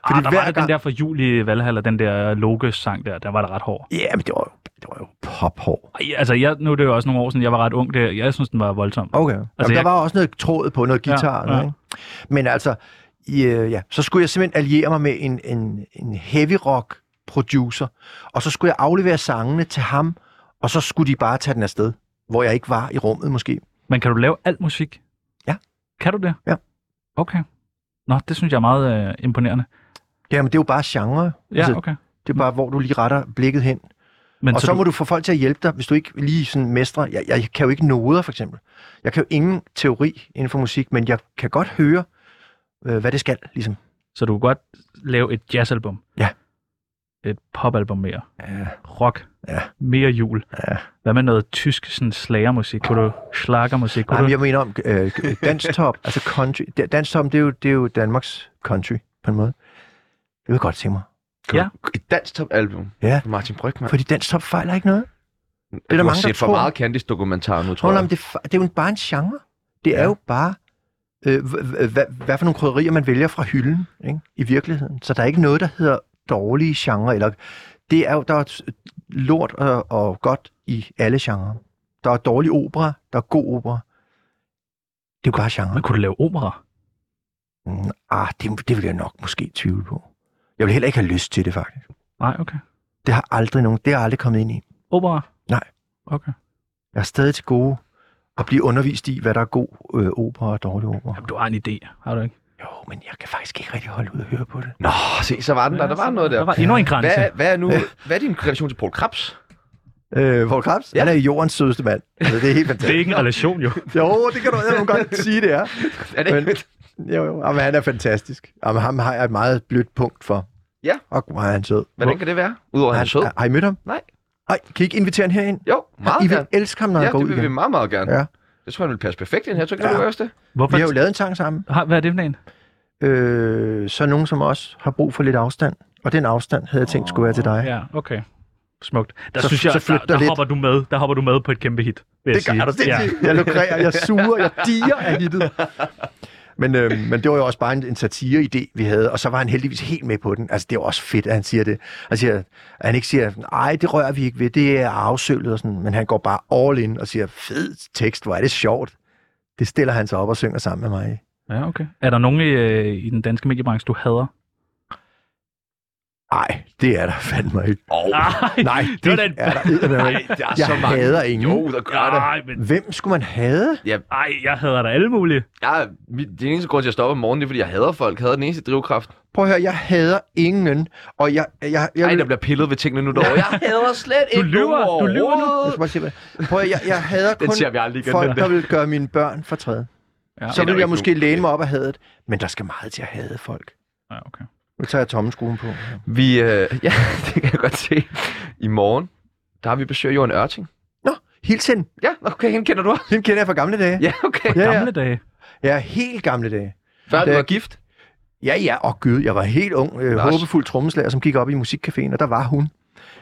Fordi ah, der var gang... den der fra Julie Valhalla, den der Loke-sang der, den var da ret hård. Ja, men det var jo, det var jo pophård. Ej, altså, jeg, nu er det jo også nogle år siden, jeg var ret ung. Det, jeg synes, den var voldsom. Okay. Altså, Jamen, jeg- der var også noget tråd på, noget Ja, guitar. ja. Ja, ja. Men altså, i, øh, ja, så skulle jeg simpelthen alliere mig med en, en, en heavy rock producer, og så skulle jeg aflevere sangene til ham, og så skulle de bare tage den afsted, hvor jeg ikke var i rummet måske. Men kan du lave alt musik? Ja. Kan du det? Ja. Okay. Nå, det synes jeg er meget øh, imponerende. Jamen, det er jo bare genre. Altså, Ja, okay. Det er bare, hvor du lige retter blikket hen. Men og så, så du, må du få folk til at hjælpe dig, hvis du ikke lige sådan mestrer. Jeg, jeg kan jo ikke noder, for eksempel. Jeg kan jo ingen teori inden for musik, men jeg kan godt høre, øh, hvad det skal, ligesom. så du kan godt lave et jazzalbum. Ja. Et popalbum mere. Ja. Rock. Ja. Mere jul. Ja. Hvad med noget tysk sådan slagermusik? Kunne du slagermusik? Kunne Nej, men du... jeg mener om øh, danstop, altså country. Da- Danstop, det er, jo, det er jo Danmarks country, på en måde. Det vil jeg godt tænke mig. Ja. Et dansk top-album Ja. med Martin Brygman. Fordi danstop fejler ikke noget. Det er der mange, der set for tror. meget Candice-dokumentar nu, tror Tror, jeg. nej, men det, er fa- det er jo en- bare en genre. Det er Ja. jo bare, øh, h- h- h- hvad for nogle krydderier man vælger fra hylden ikke? i virkeligheden. Så der er ikke noget, der hedder dårlige genre. Eller, det er jo, der er s- lort og, og godt i alle genrer. Der er dårlig opera, der er god opera. Det er jo bare genre. Men kunne du lave opera? Mm, ah, det, det vil jeg nok måske tvivle på. Jeg vil heller ikke have lyst til det, faktisk. Nej, okay. Det har aldrig nogen, det har jeg aldrig kommet ind i. Opera? Nej. Okay. Jeg er stadig til gode at blive undervist i, hvad der er god øh, opera og dårlig opera. Jamen, du har en idé, har du ikke? Jo, men jeg kan faktisk ikke rigtig holde ud og høre på det. Nå, se, så var den der. Der var noget der. Der var endnu en grænse. Hvad, hvad, er nu, hvad er din relation til Paul Krabs? Øh, Paul Krebs, ja. han er jordens sødeste mand. Altså, det er helt Det er fantastisk. ikke en relation, jo. Jo, det kan du nogle godt sige, *laughs* det er. Er det Men, jo, jo. Jamen, han er fantastisk. Jamen, ham har jeg et meget blødt punkt for. Ja. Og hvor er han sød. Hvordan kan det være? Udover at han er sød? Har, har I mødt ham? Nej. Nej, kan I ikke invitere ham herind? Jo, meget I vil gerne. elske ham, når Ja, han går det ud vil vi igen. meget, meget gerne. Ja. Det tror jeg, han vil passe perfekt ind her. Tror du ikke, Ja. det er det Hvorfor? Vi har jo lavet en sang sammen. Har- Hvad er det for en? Øh, så er nogen som os har brug for lidt afstand. Og den afstand havde jeg tænkt skulle være til dig. Ja, okay. Smukt. Der Så- så, synes jeg, så så flyt der, dig der, lidt. hopper du med, der hopper du med på et kæmpe hit. Vil Det jeg gør sige. du sindssygt. Ja. Jeg lukrerer, jeg suger, jeg diger af hittet. Men, øh, men det var jo også bare en, en satire-idé, vi havde, og så var han heldigvis helt med på den. Altså, det er jo også fedt, at han siger det. Han, siger, at han ikke siger, nej, det rører vi ikke ved, det er arvesølvet og sådan, men han går bare all in og siger, fed tekst, hvor er det sjovt. Det stiller han sig op og synger sammen med mig. i. Ja. ja, okay. Er der nogen i, øh, i den danske mediebranche, du hader? Nej, det er der fandme ikke. Oh. Nej, det var da en- er der eddermame Ej, ikke. der er Jeg så mange. hader ingen. Jo, der gør det. Nej, men Hvem skulle man have? ej, jeg hader dig alle mulige. Jeg, det eneste grund til, at jeg stopper om morgenen, det er, fordi jeg hader folk. Jeg hader den eneste drivkraft. Prøv at høre, jeg hader ingen, og jeg... jeg, jeg, jeg Ej, der bliver pillet ved tingene nu derovre. Jeg hader slet Du ikke lyver, nogen du lyver nu. Jeg overhovedet. skal bare se, hvad- Prøv at, jeg, jeg hader *laughs* Den kun ser vi aldrig igen. folk, den der der. vil gøre mine børn fortræde. Ja, Så det er vil der jeg ikke måske nogen. læne mig op af hadet, men der skal meget til at hade folk. ja okay. Nu tager jeg tommeskruen på. Vi, øh, *laughs* ja, det kan jeg godt se. I morgen, der har vi besøg af Johan Ørting. Nå, hilsen. Ja, okay, hende kender du også. Den kender jeg fra gamle dage. Ja, okay. ja, ja. Gamle dage. Jeg er helt gamle dage. Før du Det- var gift. Ja, ja, og gud, jeg var helt ung, øh, Lars. håbefuld trommeslager, som gik op i musikcaféen, og der var hun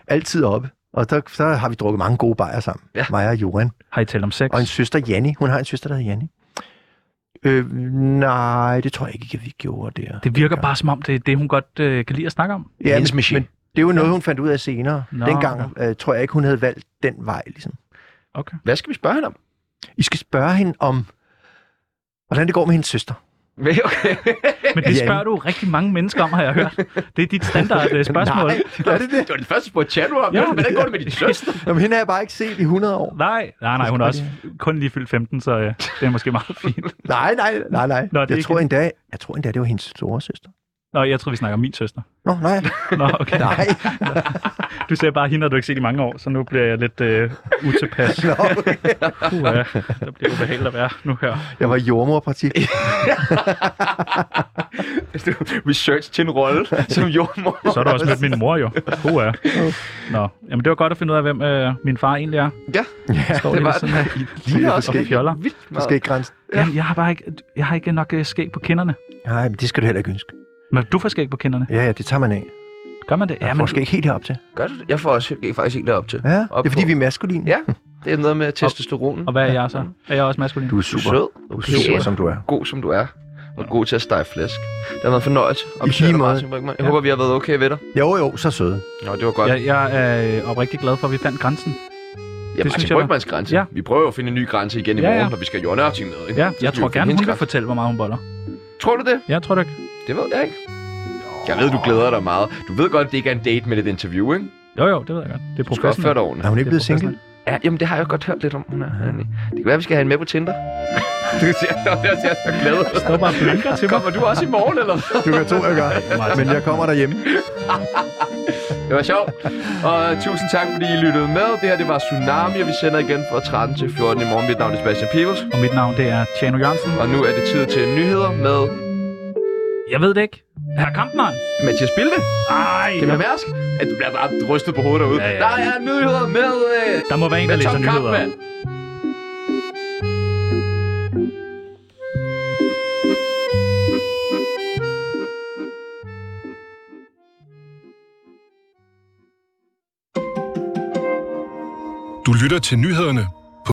altid oppe. Og der, så har vi drukket mange gode bajer sammen, ja. Ja. mig og Johan. Har I talt om sex? Og en søster, Janni. Hun har en søster, der hedder Janni. Øh, nej, det tror jeg ikke, at vi gjorde der. Det virker bare som om, det er det, hun godt øh, kan lide at snakke om. Ja, Hendes men- machine. men det var noget, hun fandt ud af senere. Nå, Nå, Dengang øh, tror jeg ikke, hun havde valgt den vej. Ligesom. Okay. Hvad skal vi spørge hende om? I skal spørge hende om, hvordan det går med hendes søster. Hvad, Okay. Men det Ja. spørger du rigtig mange mennesker om, har jeg hørt. Det er dit standard øh, spørgsmål. *laughs* Nej, er *laughs* det det? Det var den første på chat, om. Ja. Ja. Hvordan går det med din søster? Jamen, hende har jeg bare ikke set i 100 år. Nej, nej, nej, hun er også kun lige fyldt 15, så øh, det er måske meget fint. Nej, nej, nej, nej. Nå, det er jeg, ikke tror hende. endda, jeg tror endda, det var hendes store søster. Nå, jeg tror, vi snakker om min søster. Nå, nej. Nå, okay. Nej, Du ser bare hende, har du ikke set i mange år, så nu bliver jeg lidt øh, utilpas. nå, okay. Puh, ja. Der bliver ubehageligt at være nu her. Jeg var jordmorparti. Research til en *laughs* rolle som jordmor. Så har du også mødt min mor jo. Puh, ja. Nå, jamen det var godt at finde ud af, hvem øh, min far egentlig er. Ja, Ja, Står øh, lige det ved var siden af. I ligner også forskellige fjoller. vildt du skal ikke grænse. Jamen, jeg har bare ikke, jeg har ikke nok øh, skæg på kinderne. Nej, men det skal du heller ikke ønske. Men du får skæg på kinderne. Ja, ja, det tager man af. Gør man det? Jeg får måske ikke helt herop til. Gør du det? Jeg får også jeg er faktisk ikke derop til. Ja, Op det er fordi, på. vi er maskuline. Ja, det er noget med testosteronen. og hvad er jeg så? Er jeg også maskulin? Du er Du er super. sød. Du er super, Ja. som du er. god, som du er. Og god til at stege flæsk. Det har været en fornøjelse. at I besøge lige dig, måde. Martin Brygmann. Jeg Ja. håber, vi har været okay ved dig. Jo, jo, så søde. Nå, det var godt. Jeg, jeg er øh, oprigtig glad for, at vi fandt grænsen. Ja, Det Martin synes jeg var- Brygmans grænse. Ja. Ja. Vi prøver jo at finde en ny grænse igen i Ja, morgen, ja. når vi skal have Jørgen Ørting med. Ikke? Ja, Så jeg tror skal vi finde gerne, hun hendes kan grænse. fortælle, hvor meget hun boller. Tror du det? Jeg tror du ikke. Det ved jeg ikke. Jeg ved, du glæder dig meget. Du ved godt, at det ikke er en date med et interview, ikke? Jo, jo, det ved jeg godt. Det er Du skal opføre professionelt. dig Er ordentligt. hun ikke Det er blevet single? Ja, jamen, det har jeg godt hørt lidt om, hun er. egentlig. Det kan være, vi skal have hende med på Tinder. *laughs* du ser, jeg ser så glad. ud. Der bare blinker til mig. Kommer du også i morgen, eller? hvad? Du kan tro, jeg gør. Men jeg kommer derhjemme. Det var sjovt. Og tusind tak, fordi I lyttede med. Det her, det var Tsunami, og vi sender igen fra 13 til 14 i morgen. Mit navn er Sebastian Pibels. Og mit navn, det er Tjano Jørgensen. Og nu er det tid til nyheder med Jeg ved det ikke. Herr Kampmann. Mathias Bilde. Ej, Kan man mærke, at du bliver bare rystet på hovedet derude? Ja, Ja, ja. ja. Der er nyheder med, øh, der må være en, der med læser Tom nyheder. Kampmann. Du lytter til nyhederne